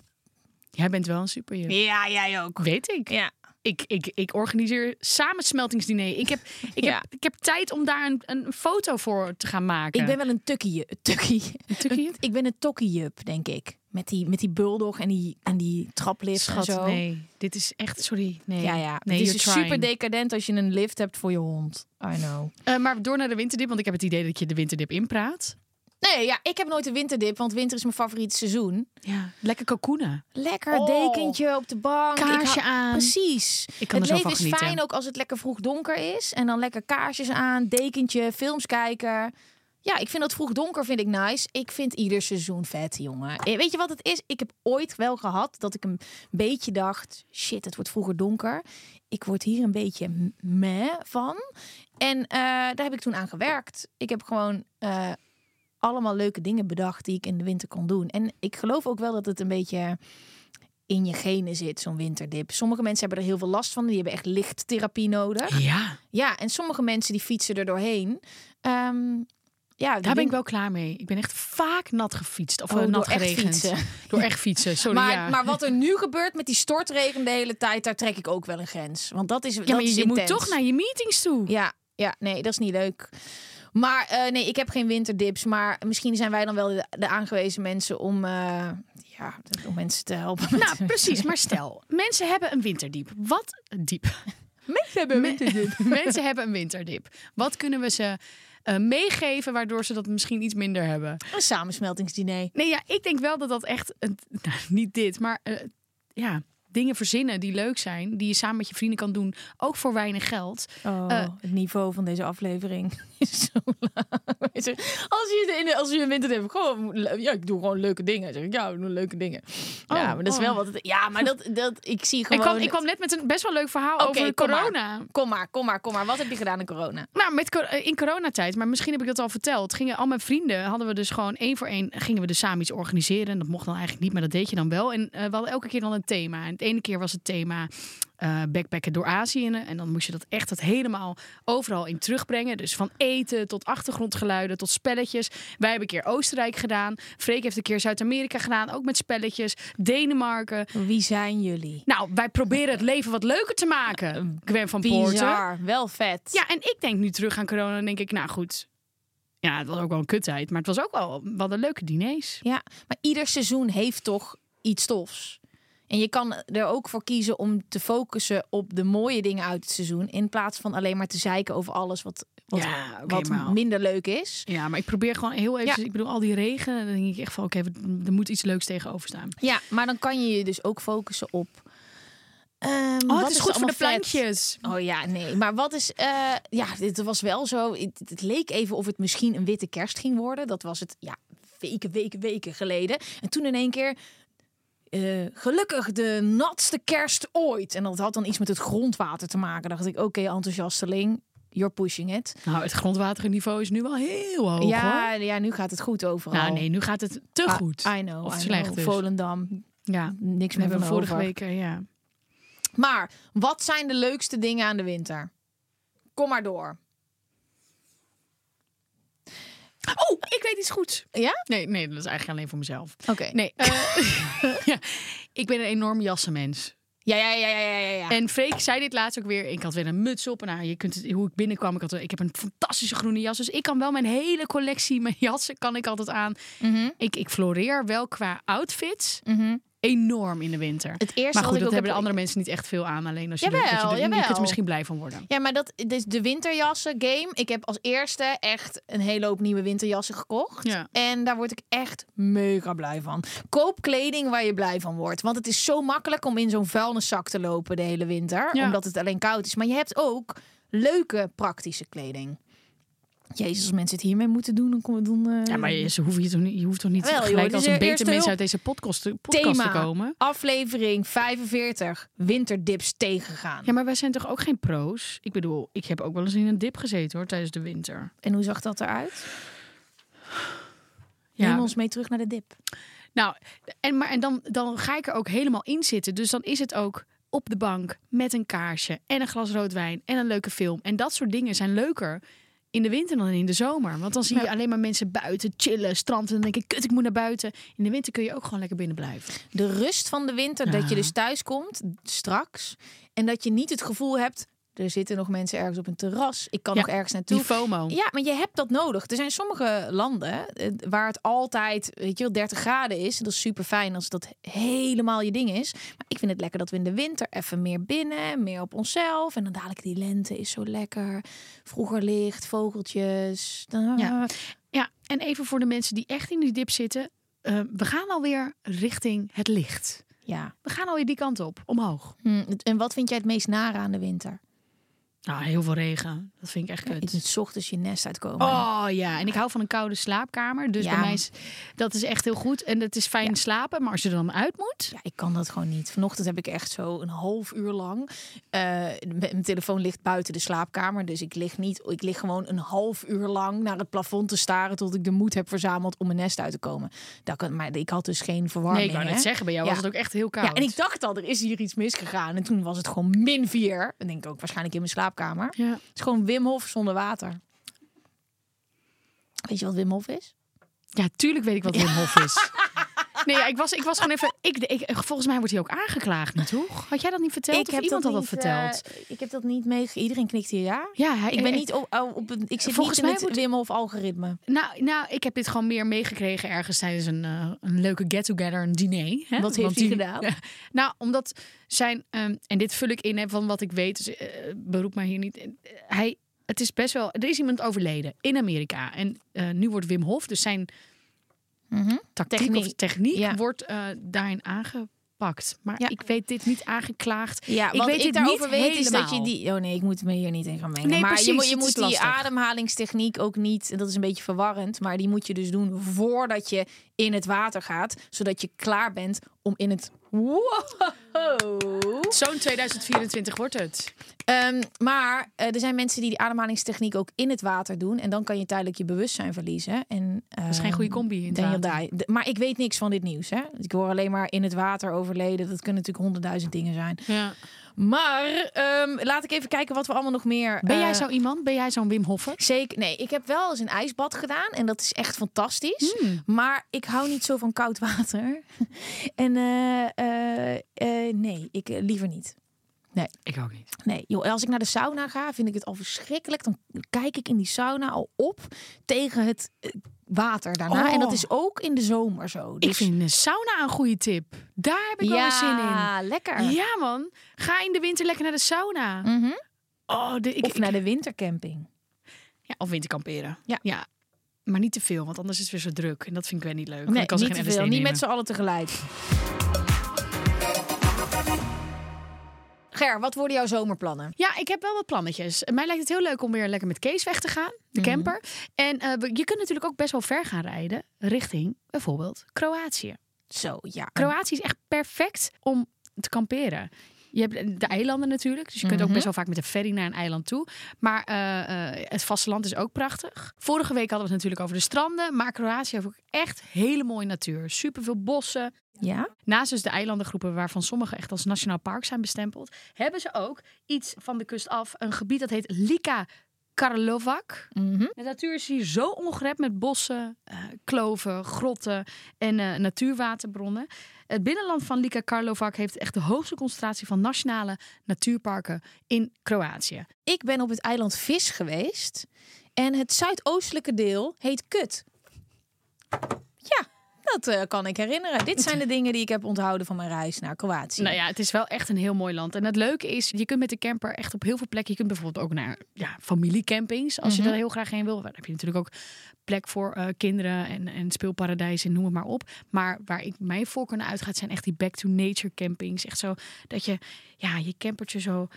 Speaker 1: Jij bent wel een superhero.
Speaker 2: Ja, jij ook.
Speaker 1: Weet ik.
Speaker 2: Ja.
Speaker 1: Ik, ik. ik organiseer samensmeltingsdiner. Ik heb, ik
Speaker 2: Ja.
Speaker 1: heb, ik heb tijd om daar een, een foto voor te gaan maken.
Speaker 2: Ik ben wel een tukkie. Tukkie.
Speaker 1: Tukkie?
Speaker 2: Ik ben een tokkiejup, denk ik. Met die, met die buldog en die, en die traplift
Speaker 1: Schat,
Speaker 2: en zo.
Speaker 1: nee. Dit is echt, sorry. Nee.
Speaker 2: Ja, ja.
Speaker 1: Nee,
Speaker 2: het is dus
Speaker 1: you're trying.
Speaker 2: super decadent als je een lift hebt voor je hond. I know.
Speaker 1: Eh, maar door naar de winterdip, want ik heb het idee dat je de winterdip inpraat.
Speaker 2: Nee, ja, ik heb nooit een winterdip, want winter is mijn favoriete seizoen.
Speaker 1: Ja. Lekker cocoenen.
Speaker 2: Lekker
Speaker 1: Oh.
Speaker 2: dekentje op de bank. Ik
Speaker 1: Kaarsje
Speaker 2: hou-
Speaker 1: aan.
Speaker 2: Precies.
Speaker 1: Ik kan
Speaker 2: het
Speaker 1: er zo
Speaker 2: leven
Speaker 1: van
Speaker 2: is
Speaker 1: genieten.
Speaker 2: fijn ook als het lekker vroeg donker is. En dan lekker kaarsjes aan, dekentje, films kijken. Ja, ik vind dat vroeg donker vind ik nice. Ik vind ieder seizoen vet, jongen. Eh, Weet je wat het is? Ik heb ooit wel gehad dat ik een beetje dacht... shit, het wordt vroeger donker. Ik word hier een beetje m- meh van. En eh, daar heb ik toen aan gewerkt. Ik heb gewoon eh, allemaal leuke dingen bedacht die ik in de winter kon doen. En ik geloof ook wel dat het een beetje in je genen zit, zo'n winterdip. Sommige mensen hebben er heel veel last van. Die hebben echt lichttherapie nodig.
Speaker 1: Ja.
Speaker 2: Ja, en sommige mensen die fietsen er doorheen. Ehm, ja,
Speaker 1: Daar
Speaker 2: de
Speaker 1: ben ik
Speaker 2: win-
Speaker 1: wel klaar mee. Ik ben echt vaak nat gefietst. Of
Speaker 2: Oh,
Speaker 1: eh,
Speaker 2: door
Speaker 1: nat
Speaker 2: echt
Speaker 1: geregend.
Speaker 2: fietsen.
Speaker 1: Door echt fietsen, sorry.
Speaker 2: Maar,
Speaker 1: ja.
Speaker 2: maar wat er nu gebeurt met die stortregen de hele tijd, daar trek ik ook wel een grens. Want dat is
Speaker 1: Ja,
Speaker 2: dat
Speaker 1: maar je,
Speaker 2: is
Speaker 1: je moet
Speaker 2: intens.
Speaker 1: toch naar je meetings toe.
Speaker 2: Ja, ja, nee, dat is niet leuk. Maar eh, nee, ik heb geen winterdips. Maar misschien zijn wij dan wel de, de aangewezen mensen om, eh, ja, om mensen te helpen. met
Speaker 1: Nou, precies. Maar stel, mensen hebben een winterdiep. Wat diep?
Speaker 2: Mensen hebben
Speaker 1: mensen hebben een winterdip. Wat kunnen we ze eh, meegeven waardoor ze dat misschien iets minder hebben?
Speaker 2: Een samensmeltingsdiner.
Speaker 1: Nee, ja, ik denk wel dat dat echt een, nou, niet dit, maar eh, ja, dingen verzinnen die leuk zijn, die je samen met je vrienden kan doen, ook voor weinig geld.
Speaker 2: Oh,
Speaker 1: Eh,
Speaker 2: het niveau van deze aflevering is zo laag. Hij zegt, Als je, in de- als je een winter hebt, gewoon, ja, ik doe gewoon leuke dingen. Hij zegt, ja, we doen leuke dingen.
Speaker 1: Oh,
Speaker 2: ja, maar dat is
Speaker 1: oh.
Speaker 2: wel wat. Het, ja, maar dat, dat, ik zie
Speaker 1: Ik
Speaker 2: gewoon.
Speaker 1: kwam, ik kwam net met een best wel leuk verhaal
Speaker 2: Oké,
Speaker 1: over
Speaker 2: kom maar.
Speaker 1: corona.
Speaker 2: Kom maar, kom maar, kom maar. Wat heb je gedaan in corona?
Speaker 1: Nou, met, cor- eh, in coronatijd, maar misschien heb ik dat al verteld. Gingen al mijn vrienden, hadden we dus gewoon één voor één, gingen we dus samen iets organiseren. En dat mocht dan eigenlijk niet, maar dat deed je dan wel. En eh, we hadden elke keer dan een thema. En het ene keer was het thema eh backpacken door Azië. En dan moest je dat echt dat helemaal overal in terugbrengen. Dus van eten tot achtergrondgeluiden tot spelletjes. Wij hebben een keer Oostenrijk gedaan. Freek heeft een keer Zuid-Amerika gedaan, ook met spelletjes. Denemarken.
Speaker 2: Wie zijn jullie?
Speaker 1: Nou, wij proberen het leven wat leuker te maken. Gwen van Poorten.
Speaker 2: Bizar, wel vet.
Speaker 1: Ja, en ik denk nu terug aan corona en denk ik, nou goed. Ja, het was ook wel een kuttijd, maar het was ook wel wat een leuke diners.
Speaker 2: Ja, maar ieder seizoen heeft toch iets tofs. En je kan er ook voor kiezen om te focussen op de mooie dingen uit het seizoen. In plaats van alleen maar te zeiken over alles wat, wat,
Speaker 1: Ja, oké,
Speaker 2: wat
Speaker 1: maar-
Speaker 2: minder leuk is.
Speaker 1: Ja, maar ik probeer gewoon heel even, dus
Speaker 2: Ja.
Speaker 1: ik bedoel, al die regen, dan denk ik echt van, oké, er moet iets leuks tegenover staan.
Speaker 2: Ja, maar dan kan je je dus ook focussen op. ehm,
Speaker 1: Oh,
Speaker 2: wat
Speaker 1: het is,
Speaker 2: er
Speaker 1: goed voor
Speaker 2: allemaal
Speaker 1: de
Speaker 2: vet?
Speaker 1: plantjes.
Speaker 2: Oh ja, nee. Maar wat is. eh, ja, dit was wel zo. Het, het leek even of het misschien een witte kerst ging worden. Dat was het. Ja, weken, weken, weken geleden. En toen in één keer. eh, gelukkig de natste kerst ooit. En dat had dan iets met het grondwater te maken. Dacht ik, oké, enthousiasteling, you're pushing it.
Speaker 1: Nou, het grondwaterniveau is nu wel heel hoog.
Speaker 2: ja,
Speaker 1: hoor.
Speaker 2: ja, nu gaat het goed overal.
Speaker 1: Nou, nee, nu gaat het te
Speaker 2: Ah,
Speaker 1: goed.
Speaker 2: I know,
Speaker 1: Of
Speaker 2: I
Speaker 1: slecht
Speaker 2: know.
Speaker 1: dus.
Speaker 2: Volendam,
Speaker 1: Ja,
Speaker 2: niks
Speaker 1: we
Speaker 2: meer
Speaker 1: hebben
Speaker 2: van
Speaker 1: vorige
Speaker 2: over.
Speaker 1: week, eh, ja.
Speaker 2: Maar wat zijn de leukste dingen aan de winter? Kom maar door.
Speaker 1: Oh, ik weet iets goeds.
Speaker 2: Ja?
Speaker 1: Nee, nee, dat is eigenlijk alleen voor mezelf.
Speaker 2: Oké.
Speaker 1: Nee, eh, ja, ik ben een enorm jassenmens.
Speaker 2: Ja, ja, ja, ja, ja, ja, ja.
Speaker 1: En Freek zei dit laatst ook weer. Ik had weer een muts op. En nou, je kunt het, hoe ik binnenkwam, ik, had, ik heb een fantastische groene jas. Dus ik kan wel mijn hele collectie, mijn jassen, kan ik altijd aan.
Speaker 2: Mhm,
Speaker 1: Ik, ik floreer wel qua outfits
Speaker 2: mhm.
Speaker 1: enorm in de winter.
Speaker 2: Het eerste
Speaker 1: maar
Speaker 2: wat
Speaker 1: goed,
Speaker 2: ik
Speaker 1: dat
Speaker 2: ook
Speaker 1: hebben de
Speaker 2: heb-
Speaker 1: andere mensen niet echt veel aan. Alleen als je,
Speaker 2: Jawel,
Speaker 1: dat je, er- je kunt
Speaker 2: jawel.
Speaker 1: er misschien blij van worden.
Speaker 2: Ja, maar dat dus de winterjassen game. Ik heb als eerste echt een hele hoop nieuwe winterjassen gekocht.
Speaker 1: Ja.
Speaker 2: En daar word ik echt mega blij van. Koop kleding waar je blij van wordt. Want het is zo makkelijk om in zo'n vuilniszak te lopen de hele winter.
Speaker 1: Ja.
Speaker 2: Omdat het alleen koud is. Maar je hebt ook leuke praktische kleding. Jezus, als mensen het hiermee moeten doen, dan komen dan. eh,
Speaker 1: Ja, maar je, ze hoeven je, toch niet, je hoeft toch niet
Speaker 2: Wel, joh,
Speaker 1: gelijk
Speaker 2: dit
Speaker 1: als
Speaker 2: is
Speaker 1: een
Speaker 2: de
Speaker 1: beter
Speaker 2: eerste
Speaker 1: mens
Speaker 2: hulp.
Speaker 1: uit deze podcast, podcast te
Speaker 2: Thema.
Speaker 1: komen.
Speaker 2: Aflevering 45. Winterdips tegengaan.
Speaker 1: Ja, maar wij zijn toch ook geen pro's? Ik bedoel, ik heb ook wel eens in een dip gezeten hoor, tijdens de winter.
Speaker 2: En hoe zag dat eruit?
Speaker 1: Ja,
Speaker 2: Neem ons mee terug naar de dip.
Speaker 1: Nou, en, maar, en dan, dan ga ik er ook helemaal in zitten. Dus dan is het ook op de bank met een kaarsje en een glas rood wijn en een leuke film. En dat soort dingen zijn leuker in de winter dan in de zomer. Want dan zie je alleen maar mensen buiten chillen, stranden. En dan denk ik, kut, ik moet naar buiten. In de winter kun je ook gewoon lekker binnen blijven.
Speaker 2: De rust van de winter, dat je dus thuis komt, straks. En dat je niet het gevoel hebt, er zitten nog mensen ergens op een terras. Ik kan
Speaker 1: Ja,
Speaker 2: nog ergens naartoe.
Speaker 1: Die FOMO.
Speaker 2: Ja, maar je hebt dat nodig. Er zijn sommige landen eh, waar het altijd, weet je wel, 30 graden is. Dat is super fijn als dat helemaal je ding is. Maar ik vind het lekker dat we in de winter even meer binnen, meer op onszelf. En dan dadelijk die lente is zo lekker. Vroeger licht, vogeltjes. Dan-
Speaker 1: Ja. Ja, en even voor de mensen die echt in die dip zitten. eh, we gaan alweer richting het licht.
Speaker 2: ja.
Speaker 1: We gaan alweer die kant op, omhoog.
Speaker 2: Hm, En wat vind jij het meest nare aan de winter?
Speaker 1: Nou, heel veel regen. Dat vind ik echt kut.
Speaker 2: Ik moet 's ochtends je nest uitkomen.
Speaker 1: Oh ja, en ik hou van een koude slaapkamer. Dus
Speaker 2: Ja.
Speaker 1: bij mij is dat is echt heel goed. En het is fijn slapen, maar als je er dan uit moet.
Speaker 2: Ja, ik kan dat gewoon niet. Vanochtend heb ik echt zo een half uur lang. eh, m- mijn telefoon ligt buiten de slaapkamer. Dus ik lig niet. Ik lig gewoon een half uur lang naar het plafond te staren. Tot ik de moed heb verzameld om mijn nest uit te komen. Dat kan, maar ik had dus geen verwarming.
Speaker 1: Nee, ik wou net
Speaker 2: hè?
Speaker 1: zeggen, bij jou
Speaker 2: Ja.
Speaker 1: was het ook echt heel koud.
Speaker 2: Ja, en ik dacht al, er is hier iets misgegaan. En toen was het gewoon min 4. Dan denk ik ook waarschijnlijk in mijn slaapkamer. Het
Speaker 1: Ja.
Speaker 2: is gewoon Wim Hof zonder water. Weet je wat Wim Hof is?
Speaker 1: Ja, tuurlijk weet ik wat Wim Hof is. Nee, ja, ik, was, ik was gewoon even. Ik, ik, volgens mij wordt hij ook aangeklaagd, niet toch? Had jij dat niet verteld? of iemand had dat
Speaker 2: niet,
Speaker 1: verteld?
Speaker 2: eh, ik heb dat niet meegekregen. Iedereen knikt hier ja.
Speaker 1: ja, hij,
Speaker 2: Ik ben niet op,
Speaker 1: oh,
Speaker 2: op, op een- ik zit
Speaker 1: Volgens
Speaker 2: niet
Speaker 1: mij
Speaker 2: in het
Speaker 1: wordt-
Speaker 2: Wim Hof algoritme.
Speaker 1: Nou, nou, ik heb dit gewoon meer meegekregen ergens tijdens een, eh, een leuke get-together, een diner. Hè?
Speaker 2: Wat
Speaker 1: Want
Speaker 2: heeft hij
Speaker 1: die-
Speaker 2: gedaan?
Speaker 1: nou, omdat zijn, ehm, en dit vul ik in hè, van wat ik weet, dus, eh, beroep mij hier niet. Eh, Hij, het is best wel, er is iemand overleden in Amerika. En eh, nu wordt Wim Hof, dus zijn tactiek
Speaker 2: Mhm. Techniek.
Speaker 1: of techniek,
Speaker 2: Ja.
Speaker 1: wordt eh, daarin aangepakt. Maar
Speaker 2: Ja.
Speaker 1: ik weet dit niet aangeklaagd.
Speaker 2: Ja,
Speaker 1: ik
Speaker 2: wat
Speaker 1: weet
Speaker 2: ik
Speaker 1: dit
Speaker 2: daarover
Speaker 1: niet
Speaker 2: weet is dat je
Speaker 1: helemaal.
Speaker 2: die... Oh nee, ik moet me hier niet in gaan mengen.
Speaker 1: Nee,
Speaker 2: maar je
Speaker 1: precies,
Speaker 2: moet, je
Speaker 1: het is
Speaker 2: moet die
Speaker 1: lastig.
Speaker 2: ademhalingstechniek ook niet... en Dat is een beetje verwarrend, maar die moet je dus doen voordat je in het water gaat. Zodat je klaar bent om in het... Wow!
Speaker 1: Zo'n 2024 wordt het.
Speaker 2: Ehm, maar eh, er zijn mensen die die ademhalingstechniek ook in het water doen. En dan kan je tijdelijk je bewustzijn verliezen. En, ehm, dat
Speaker 1: is geen goede combi in het water.
Speaker 2: Maar ik weet niks van dit nieuws. Hè? Ik hoor alleen maar in het water overleden. Dat kunnen natuurlijk honderdduizend dingen zijn.
Speaker 1: Ja.
Speaker 2: Maar ehm, laat ik even kijken wat we allemaal nog meer...
Speaker 1: Ben
Speaker 2: eh,
Speaker 1: jij zo iemand? Ben jij zo'n Wim Hoffer?
Speaker 2: Zeker. Nee, ik heb wel eens een ijsbad gedaan en dat is echt fantastisch. Maar ik hou niet zo van koud water. en eh, eh, eh, nee, ik eh, liever niet.
Speaker 1: Ik ook niet.
Speaker 2: Nee, joh, als ik naar de sauna ga, vind ik het al verschrikkelijk. Dan kijk ik in die sauna al op tegen het eh, water daarna.
Speaker 1: Oh.
Speaker 2: En dat is ook in de zomer zo. dus
Speaker 1: Ik vind een sauna een goede tip. Daar heb ik wel
Speaker 2: ja,
Speaker 1: eens zin in.
Speaker 2: lekker.
Speaker 1: Ja, man. Ga in de winter lekker naar de sauna.
Speaker 2: Mhm.
Speaker 1: Oh, de, ik,
Speaker 2: Of naar de wintercamping.
Speaker 1: ja, of winterkamperen.
Speaker 2: Ja.
Speaker 1: ja. Maar niet te veel, want anders is het weer zo druk. En dat vind ik weer niet leuk. Want
Speaker 2: Nee,
Speaker 1: ik kan ze
Speaker 2: niet te
Speaker 1: geen
Speaker 2: veel.
Speaker 1: LSD
Speaker 2: Niet
Speaker 1: nemen.
Speaker 2: met z'n allen tegelijk. Ger, wat worden jouw zomerplannen?
Speaker 1: Ja, ik heb wel wat plannetjes. Mij lijkt het heel leuk om weer lekker met Kees weg te gaan, de camper. En eh, we- je kunt natuurlijk ook best wel ver gaan rijden richting bijvoorbeeld Kroatië.
Speaker 2: Zo, ja.
Speaker 1: Kroatië is echt perfect om te kamperen. Je hebt de eilanden natuurlijk, dus je kunt ook best wel vaak met een ferry naar een eiland toe. Maar eh, eh, het vasteland is ook prachtig. Vorige week hadden we het natuurlijk over de stranden, maar Kroatië heeft ook echt hele mooie natuur. Superveel bossen,
Speaker 2: Ja?
Speaker 1: Naast dus de eilandengroepen, waarvan sommige echt als nationaal park zijn bestempeld, hebben ze ook iets van de kust af, een gebied dat heet Lika Karlovac.
Speaker 2: Mhm.
Speaker 1: De natuur is hier zo ongerept met bossen, eh, kloven, grotten en eh, natuurwaterbronnen. Het binnenland van Lika Karlovac heeft echt de hoogste concentratie van nationale natuurparken in Kroatië.
Speaker 2: Ik ben op het eiland Vis geweest. En het zuidoostelijke deel heet Kut. Ja, dat eh, kan ik herinneren. Dit zijn de dingen die ik heb onthouden van mijn reis naar Kroatië.
Speaker 1: Nou ja, het is wel echt een heel mooi land. En het leuke is, je kunt met de camper echt op heel veel plekken. Je kunt bijvoorbeeld ook naar ja, familiecampings, als
Speaker 2: Mhm.
Speaker 1: je daar heel graag heen wil. Daar heb je natuurlijk ook plek voor eh, kinderen en, en speelparadijzen, noem het maar op. Maar waar ik mij voor kunnen uitgaat, zijn echt die back-to-nature campings. Echt zo dat je ja, je campertje zo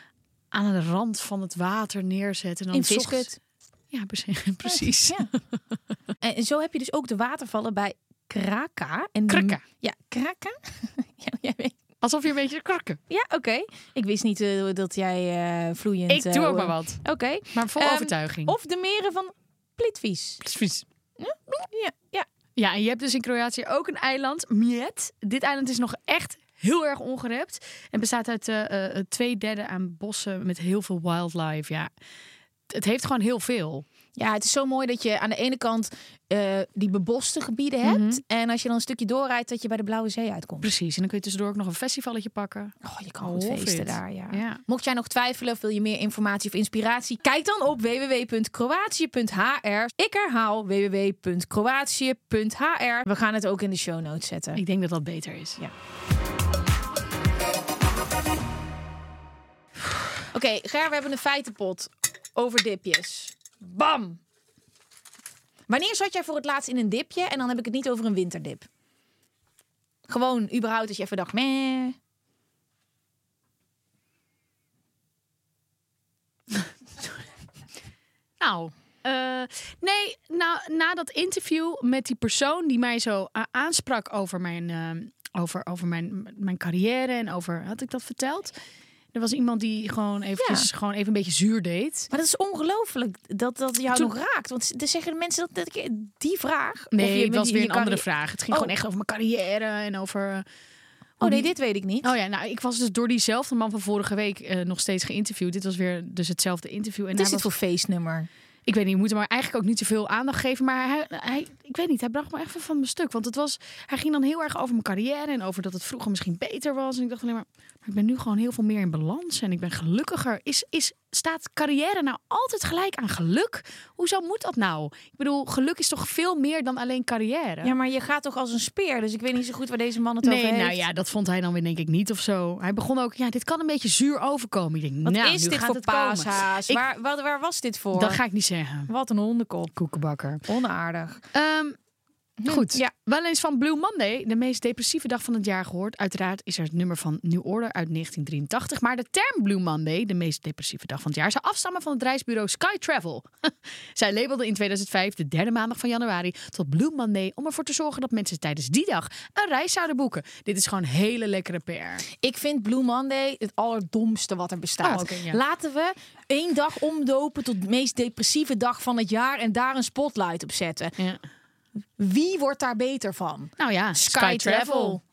Speaker 1: aan de rand van het water neerzet. En dan
Speaker 2: In
Speaker 1: s ochtends-
Speaker 2: Viskut.
Speaker 1: Ja, precies. precies.
Speaker 2: Ja. En en zo heb je dus ook de watervallen bij Kraka. En de-
Speaker 1: Krka.
Speaker 2: Ja, Kraka. ja, jij weet.
Speaker 1: Alsof je een beetje krakken.
Speaker 2: Ja, oké. Ik wist niet eh, dat jij eh, vloeiend...
Speaker 1: Ik
Speaker 2: eh,
Speaker 1: doe ook maar
Speaker 2: eh,
Speaker 1: wat.
Speaker 2: Oké.
Speaker 1: Maar vol
Speaker 2: Ehm,
Speaker 1: overtuiging.
Speaker 2: Of de meren van Plitvice.
Speaker 1: Precies.
Speaker 2: Ja, ja.
Speaker 1: Ja, en je hebt dus in Kroatië ook een eiland, Mjet. Dit eiland is nog echt heel erg ongerept. En bestaat uit eh, eh, twee derde aan bossen met heel veel wildlife. Ja, het heeft gewoon heel veel.
Speaker 2: Ja, het is zo mooi dat je aan de ene kant eh, die beboste gebieden hebt. En als je dan een stukje doorrijdt, dat je bij de Blauwe Zee uitkomt.
Speaker 1: Precies. En dan kun je tussendoor ook nog een festivalletje pakken.
Speaker 2: Oh, je kan goed
Speaker 1: Love
Speaker 2: feesten
Speaker 1: it.
Speaker 2: daar, ja.
Speaker 1: Ja.
Speaker 2: Mocht jij nog twijfelen of wil je meer informatie of inspiratie, kijk dan op www.kroatië.hr. Ik herhaal www.kroatië.hr. We gaan het ook in de show notes zetten.
Speaker 1: Ik denk dat dat beter is.
Speaker 2: Oké, Ger, we hebben een feitenpot over dipjes. Bam! Wanneer zat jij voor het laatst in een dipje? En dan heb ik het niet over een winterdip. Gewoon, überhaupt, dat je even dacht, meh.
Speaker 1: Nou, eh, nee, nou, na dat interview met die persoon die mij zo eh, aansprak over mijn, eh, over, over mijn, mijn carrière en over, had ik dat verteld? Er was iemand die gewoon, eventjes, gewoon even een beetje zuur deed.
Speaker 2: Maar dat is ongelooflijk dat dat jou
Speaker 1: Toen-
Speaker 2: nog raakt. Want dan zeggen de mensen dat, dat ik die vraag. of je
Speaker 1: Nee,
Speaker 2: met
Speaker 1: het was
Speaker 2: die-
Speaker 1: weer
Speaker 2: je
Speaker 1: een andere
Speaker 2: carri-
Speaker 1: vraag. Het ging
Speaker 2: Oh.
Speaker 1: gewoon echt over mijn carrière en over... eh,
Speaker 2: Oh nee, dit weet ik niet.
Speaker 1: Oh ja, nou, ik was dus door diezelfde man van vorige week eh, nog steeds geïnterviewd. Dit was weer dus hetzelfde interview. En
Speaker 2: Wat
Speaker 1: hij
Speaker 2: is dit voor
Speaker 1: was,
Speaker 2: feestnummer?
Speaker 1: Ik weet niet, we moeten maar eigenlijk ook niet te veel aandacht geven. Maar hij, hij, ik weet niet, hij bracht me even van mijn stuk. Want het was, hij ging dan heel erg over mijn carrière en over dat het vroeger misschien beter was. En ik dacht alleen maar, maar ik ben nu gewoon heel veel meer in balans en ik ben gelukkiger. Is, is, staat carrière nou altijd gelijk aan geluk? Hoezo moet dat nou? Ik bedoel, geluk is toch veel meer dan alleen carrière?
Speaker 2: Ja, maar je gaat toch als een speer. Dus ik weet niet zo goed waar deze man het
Speaker 1: Nee,
Speaker 2: over heeft.
Speaker 1: nou ja, dat vond hij dan weer denk ik niet of zo. Hij begon ook, ja, dit kan een beetje zuur overkomen. Ik denk,
Speaker 2: Wat
Speaker 1: nou,
Speaker 2: is
Speaker 1: nu
Speaker 2: dit
Speaker 1: gaat
Speaker 2: voor
Speaker 1: het komen.
Speaker 2: paashaas?
Speaker 1: Ik-
Speaker 2: Waar, waar, waar was dit voor?
Speaker 1: Dat ga ik niet zeggen.
Speaker 2: Wat een hondenkop.
Speaker 1: Koekenbakker.
Speaker 2: Onaardig.
Speaker 1: Ehm, goed.
Speaker 2: Ja.
Speaker 1: Wel eens van Blue Monday, de meest depressieve dag van het jaar gehoord. Uiteraard is er het nummer van New Order uit 1983. Maar de term Blue Monday, de meest depressieve dag van het jaar, zou afstammen van het reisbureau Sky Travel. Zij labelde in 2005 de derde maandag van januari tot Blue Monday om ervoor te zorgen dat mensen tijdens die dag een reis zouden boeken. Dit is gewoon hele lekkere PR.
Speaker 2: Ik vind Blue Monday het allerdomste wat er bestaat.
Speaker 1: Oh, oké, ja.
Speaker 2: Laten we één dag omdopen tot de meest depressieve dag van het jaar en daar een spotlight op zetten.
Speaker 1: Ja.
Speaker 2: Wie wordt daar beter van?
Speaker 1: Nou ja,
Speaker 2: Sky, Travel.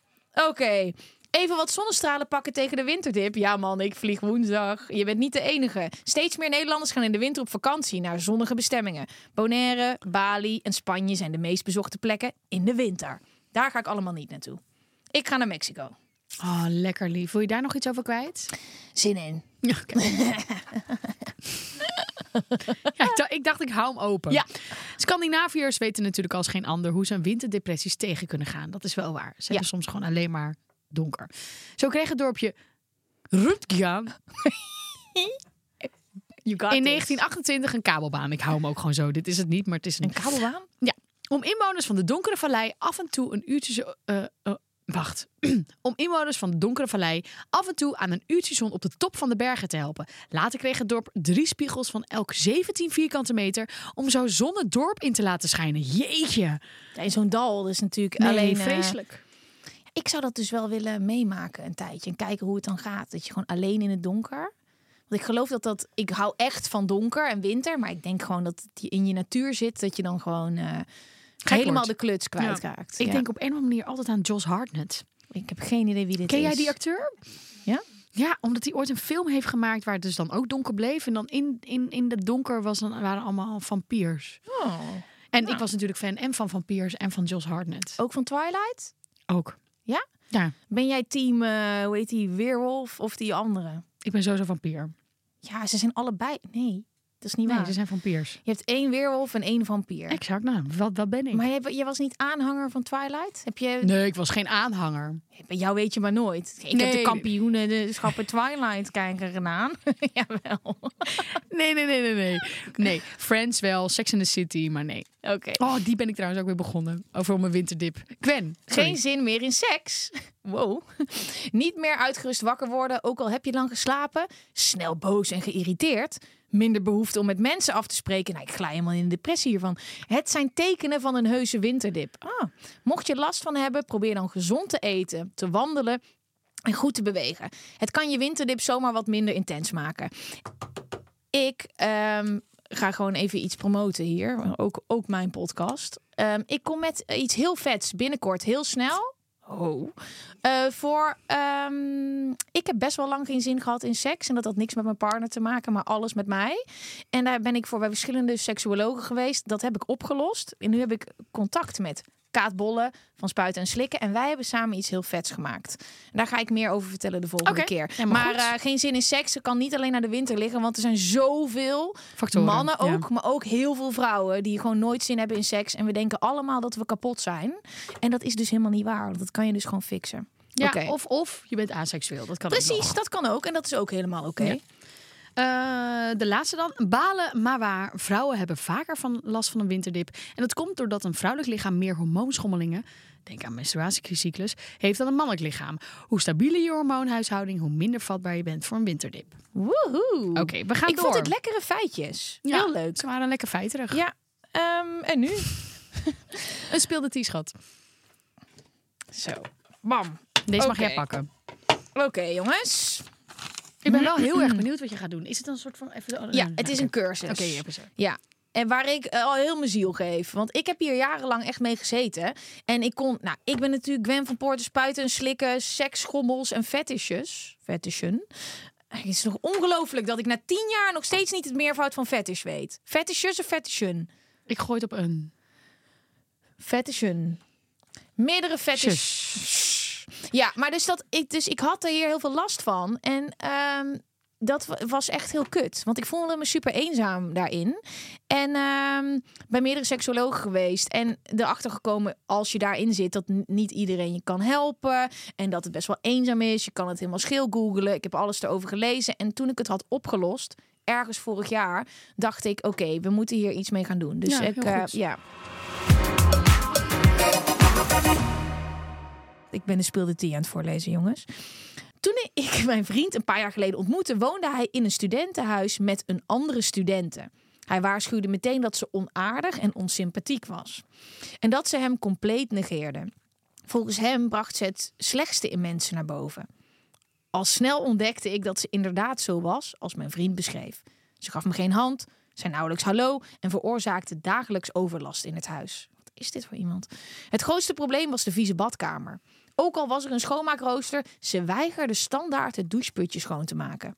Speaker 2: Oké. Even wat zonnestralen pakken tegen de winterdip. Ja man, ik vlieg woensdag. Je bent niet de enige. Steeds meer Nederlanders gaan in de winter op vakantie naar zonnige bestemmingen. Bonaire, Bali en Spanje zijn de meest bezochte plekken in de winter. Daar ga ik allemaal niet naartoe. Ik ga naar Mexico.
Speaker 1: Oh, lekker lief. Wil je daar nog iets over kwijt?
Speaker 2: Zin in.
Speaker 1: Ja, ik da- ik dacht, ik hou hem open.
Speaker 2: Ja.
Speaker 1: Scandinaviërs weten natuurlijk als geen ander hoe ze aan winterdepressies tegen kunnen gaan. Dat is wel waar. Ze hebben soms gewoon alleen maar donker. Zo kreeg het dorpje Rutgaan
Speaker 2: You got
Speaker 1: in
Speaker 2: this.
Speaker 1: 1928 een kabelbaan. Ik hou hem ook gewoon zo. Dit is het niet, maar het is een
Speaker 2: Een kabelbaan?
Speaker 1: Ja, om inwoners van de donkere vallei af en toe een uurtje zo, eh, eh, Wacht. Om inwoners van de Donkere Vallei af en toe aan een uurtje zon op de top van de bergen te helpen. Later kreeg het dorp drie spiegels van elk 17 vierkante meter om zo zon het dorp in te laten schijnen. Jeetje.
Speaker 2: Ja, in zo'n dal is natuurlijk alleen...
Speaker 1: Alleen
Speaker 2: eh,
Speaker 1: vreselijk.
Speaker 2: ik zou dat dus wel willen meemaken een tijdje. En kijken hoe het dan gaat. Dat je gewoon alleen in het donker... Want ik geloof dat dat... Ik hou echt van donker en winter. Maar ik denk gewoon dat die in je natuur zit. Dat je dan gewoon eh, helemaal
Speaker 1: wordt.
Speaker 2: de kluts kwijtraakt.
Speaker 1: Ik
Speaker 2: Ja.
Speaker 1: denk op een of andere manier altijd aan Josh Hartnett.
Speaker 2: Ik heb geen idee wie dit
Speaker 1: Ken
Speaker 2: is.
Speaker 1: jij die acteur?
Speaker 2: Ja?
Speaker 1: Ja, omdat hij ooit een film heeft gemaakt waar het dus dan ook donker bleef. En dan in, in, in dat donker was dan, waren allemaal vampiers.
Speaker 2: Oh.
Speaker 1: En ik was natuurlijk fan en van vampiers en van Josh Hartnett.
Speaker 2: Ook van Twilight?
Speaker 1: Ook.
Speaker 2: Ja?
Speaker 1: Ja,
Speaker 2: Ben jij team, eh, hoe heet die, Weerwolf of die andere?
Speaker 1: ik ben sowieso vampier.
Speaker 2: Ja, ze zijn allebei... Nee, dat is niet
Speaker 1: Nee,
Speaker 2: waar.
Speaker 1: ze zijn vampiers.
Speaker 2: Je hebt één weerwolf en één vampier.
Speaker 1: Exact, nou, wat, wat ben ik?
Speaker 2: Maar jij, jij was niet aanhanger van Twilight? Heb je,
Speaker 1: Nee, ik was geen aanhanger.
Speaker 2: Bij jou weet je maar nooit. Ik heb
Speaker 1: Nee.
Speaker 2: de kampioenen, de schappen Twilight kijken gedaan. Jawel. Oké.
Speaker 1: Nee, nee, nee, nee, nee. Nee, Friends wel, Sex in the City, maar nee. Oh, die ben ik trouwens ook weer begonnen. Over mijn winterdip. Gwen, sorry.
Speaker 2: Geen zin meer in seks. Wow. Niet meer uitgerust wakker worden, ook al heb je lang geslapen. Snel boos en geïrriteerd. Minder behoefte om met mensen af te spreken. Nou, ik glij helemaal in de depressie hiervan. Het zijn tekenen van een heuse winterdip. Ah. Mocht je last van hebben, probeer dan gezond te eten, te wandelen en goed te bewegen. Het kan je winterdip zomaar wat minder intens maken. Ik ehm, ga gewoon even iets promoten hier. Ook, ook mijn podcast. Ehm, ik kom met eh, iets heel vets binnenkort, heel snel. Oh. Eh, voor, ehm, ik heb best wel lang geen zin gehad in seks. En dat had niks met mijn partner te maken, maar alles met mij. En daar ben ik voor bij verschillende seksuologen geweest. Dat heb ik opgelost. En nu heb ik contact met Kaat Bolle van Spuiten en Slikken. En wij hebben samen iets heel vets gemaakt. En daar ga ik meer over vertellen de volgende
Speaker 1: Oké,
Speaker 2: keer.
Speaker 1: helemaal
Speaker 2: maar
Speaker 1: goed.
Speaker 2: eh, geen zin in seks. Ze kan niet alleen naar de winter liggen, want er zijn zoveel
Speaker 1: Factoren,
Speaker 2: mannen
Speaker 1: ja.
Speaker 2: ook, maar ook heel veel vrouwen die gewoon nooit zin hebben in seks. En we denken allemaal dat we kapot zijn. En dat is dus helemaal niet waar. want Dat kan je dus gewoon fixen.
Speaker 1: Ja,
Speaker 2: Oké.
Speaker 1: of, of je bent aseksueel. Dat kan ook nog.
Speaker 2: Precies, dat kan ook. En dat is ook helemaal oké.
Speaker 1: Ja. Eh, de laatste dan. Balen, maar waar. Vrouwen hebben vaker van last van een winterdip. En dat komt doordat een vrouwelijk lichaam meer hormoonschommelingen, denk aan menstruatiecyclus, heeft dan een mannelijk lichaam. Hoe stabieler je hormoonhuishouding, hoe minder vatbaar je bent voor een winterdip.
Speaker 2: Woehoe.
Speaker 1: Oké, we gaan
Speaker 2: ik
Speaker 1: door.
Speaker 2: vond het lekkere feitjes.
Speaker 1: Ja,
Speaker 2: Heel leuk.
Speaker 1: Ze waren lekker feiterig.
Speaker 2: Ja. ehm, en nu?
Speaker 1: Een speelde t-schat.
Speaker 2: Zo. Bam.
Speaker 1: Deze mag
Speaker 2: Oké.
Speaker 1: jij pakken.
Speaker 2: Oké, jongens.
Speaker 1: Ik ben wel heel erg benieuwd wat je gaat doen. Is het een soort van... Even... Ah,
Speaker 2: Ja, het is een cursus.
Speaker 1: Mm, Oké, je hebt het.
Speaker 2: Ja. En waar ik eh, al heel mijn ziel geef. Want ik heb hier jarenlang echt mee gezeten. En ik kon... Nou, ik ben natuurlijk Gwen van Poorten, spuiten en slikken, seksschommels en fetishes. Fetishen. Het is nog ongelooflijk dat ik na tien jaar nog steeds niet het meervoud van fetish weet. Fetishes of fetishen?
Speaker 1: Ik gooi het op een.
Speaker 2: Fetishen. Meerdere fetishes. Ja, maar dus, dat, ik, dus ik had er hier heel veel last van. En ehm, dat wa- was echt heel kut. Want ik voelde me super eenzaam daarin. En ehm, bij meerdere seksologen geweest. En erachter gekomen, als je daarin zit, dat n- niet iedereen je kan helpen. En dat het best wel eenzaam is. Je kan het helemaal schil googelen. Ik heb alles erover gelezen. En toen ik het had opgelost, ergens vorig jaar, dacht ik: oké, we moeten hier iets mee gaan doen. Dus
Speaker 1: Ja,
Speaker 2: ik,
Speaker 1: heel
Speaker 2: eh,
Speaker 1: goed.
Speaker 2: ja. Ik ben de speelde tea aan het voorlezen, jongens. Toen ik mijn vriend een paar jaar geleden ontmoette, woonde hij in een studentenhuis met een andere studenten. Hij waarschuwde meteen dat ze onaardig en onsympathiek was. En dat ze hem compleet negeerde. Volgens hem bracht ze het slechtste in mensen naar boven. Al snel ontdekte ik dat ze inderdaad zo was als mijn vriend beschreef. Ze gaf me geen hand, zei nauwelijks hallo en veroorzaakte dagelijks overlast in het huis. Wat is dit voor iemand? Het grootste probleem was de vieze badkamer. Ook al was er een schoonmaakrooster, ze weigerde standaard het doucheputje schoon te maken.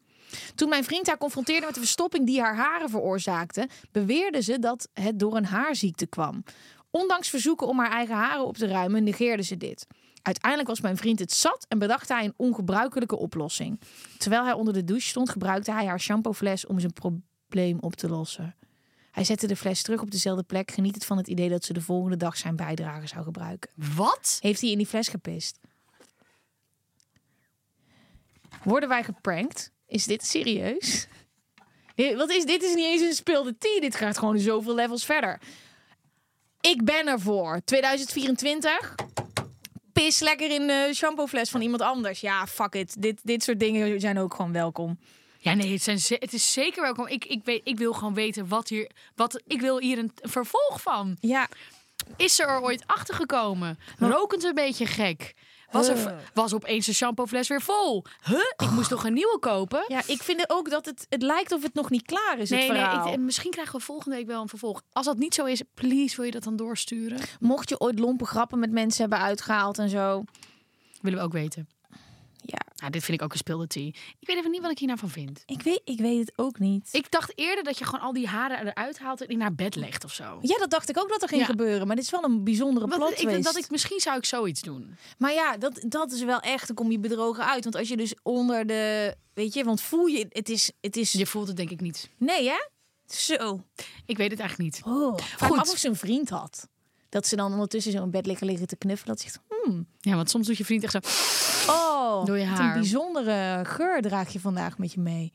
Speaker 2: Toen mijn vriend haar confronteerde met de verstopping die haar haren veroorzaakte, beweerde ze dat het door een haarziekte kwam. Ondanks verzoeken om haar eigen haren op te ruimen, negeerde ze dit. Uiteindelijk was mijn vriend het zat en bedacht hij een ongebruikelijke oplossing. Terwijl hij onder de douche stond, gebruikte hij haar shampoofles om zijn probleem op te lossen. Hij zette de fles terug op dezelfde plek, genietend van het idee dat ze de volgende dag zijn bijdrage zou gebruiken.
Speaker 1: Wat?
Speaker 2: Heeft hij in die fles gepist? Worden wij geprankt? Is dit serieus? Dit- Wat is, dit is niet eens een speelde tea. Dit gaat gewoon zoveel levels verder. Ik ben ervoor. 2024. pis lekker in de shampoofles van iemand anders. Ja, fuck it. Dit, dit soort dingen zijn ook gewoon welkom.
Speaker 1: Ja, nee, het, zijn ze- het is zeker welkom. Ik, ik, weet, ik wil gewoon weten wat hier. Wat, ik wil hier een vervolg van.
Speaker 2: Ja,
Speaker 1: Is ze er ooit achter gekomen? Rokend een beetje gek. Was, er, was opeens de shampoofles weer vol? Huh? Ik moest toch een nieuwe kopen?
Speaker 2: ja ik vind het ook dat het, het lijkt of het nog niet klaar is, het
Speaker 1: nee, nee.
Speaker 2: verhaal.
Speaker 1: ik- eh, misschien krijgen we volgende week wel een vervolg. Als dat niet zo is, please, wil je dat dan doorsturen?
Speaker 2: Mocht je ooit lompe grappen met mensen hebben uitgehaald en zo.
Speaker 1: Willen we ook weten.
Speaker 2: Ja,
Speaker 1: Nou, dit vind ik ook een spilde tea. Ik weet even niet wat ik hier nou van vind.
Speaker 2: ik weet, ik weet het ook niet.
Speaker 1: Ik dacht eerder dat je gewoon al die haren eruit haalt en die naar bed legt of zo.
Speaker 2: Ja, dat dacht ik ook dat er ging
Speaker 1: Ja.
Speaker 2: gebeuren. Maar dit is wel een bijzondere plot
Speaker 1: Wat, ik,
Speaker 2: twist.
Speaker 1: dat ik, misschien zou ik zoiets doen.
Speaker 2: Maar ja, dat, dat is wel echt. Dan kom je bedrogen uit. Want als je dus onder de... Weet je, want voel je... Het is... Het is
Speaker 1: Je voelt het denk ik niet.
Speaker 2: Nee, hè? Zo.
Speaker 1: Ik weet het eigenlijk niet.
Speaker 2: Oh. Vraag me
Speaker 1: Goed.
Speaker 2: af of ze een vriend had. Dat ze dan ondertussen zo in bed liggen, liggen te knuffelen. Dat ze zegt, hmm,
Speaker 1: Ja, want soms doet je vriend echt zo...
Speaker 2: oh,
Speaker 1: Door je
Speaker 2: wat
Speaker 1: haar.
Speaker 2: een bijzondere geur draag je vandaag met je mee.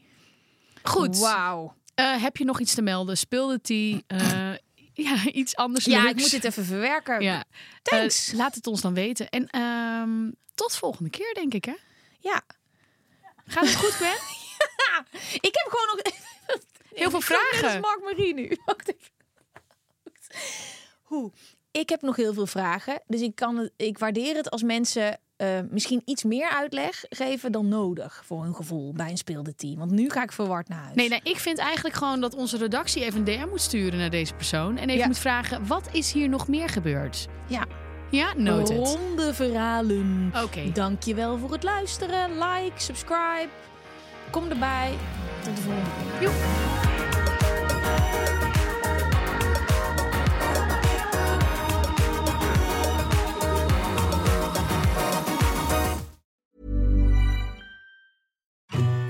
Speaker 1: Goed.
Speaker 2: Wauw.
Speaker 1: Eh, heb je nog iets te melden? Speelde die eh, ja, iets anders
Speaker 2: Ja, ik
Speaker 1: leuks?
Speaker 2: moet dit even verwerken.
Speaker 1: Ja.
Speaker 2: Thanks.
Speaker 1: Eh, laat het ons dan weten. En ehm, tot volgende keer, denk ik, hè?
Speaker 2: Ja.
Speaker 1: Gaat het goed, Gwen?
Speaker 2: Ik heb gewoon nog...
Speaker 1: Heel veel
Speaker 2: Ik klink net
Speaker 1: vragen.
Speaker 2: als Mark Marie nu. Wacht even. Hoe? Ik heb nog heel veel vragen. Dus ik, kan het, ik waardeer het als mensen eh, misschien iets meer uitleg geven dan nodig. Voor hun gevoel bij een speelde team. Want nu ga ik verward naar huis.
Speaker 1: Nee, nee, ik vind eigenlijk gewoon dat onze redactie even een DM moet sturen naar deze persoon. En even
Speaker 2: Ja.
Speaker 1: moet vragen, wat is hier nog meer gebeurd?
Speaker 2: Ja.
Speaker 1: Ja,
Speaker 2: Oh.
Speaker 1: noted. Oké.
Speaker 2: Ronde verhalen. Dankjewel voor het luisteren. Like, subscribe. Kom erbij. Tot de volgende keer.
Speaker 1: Joep.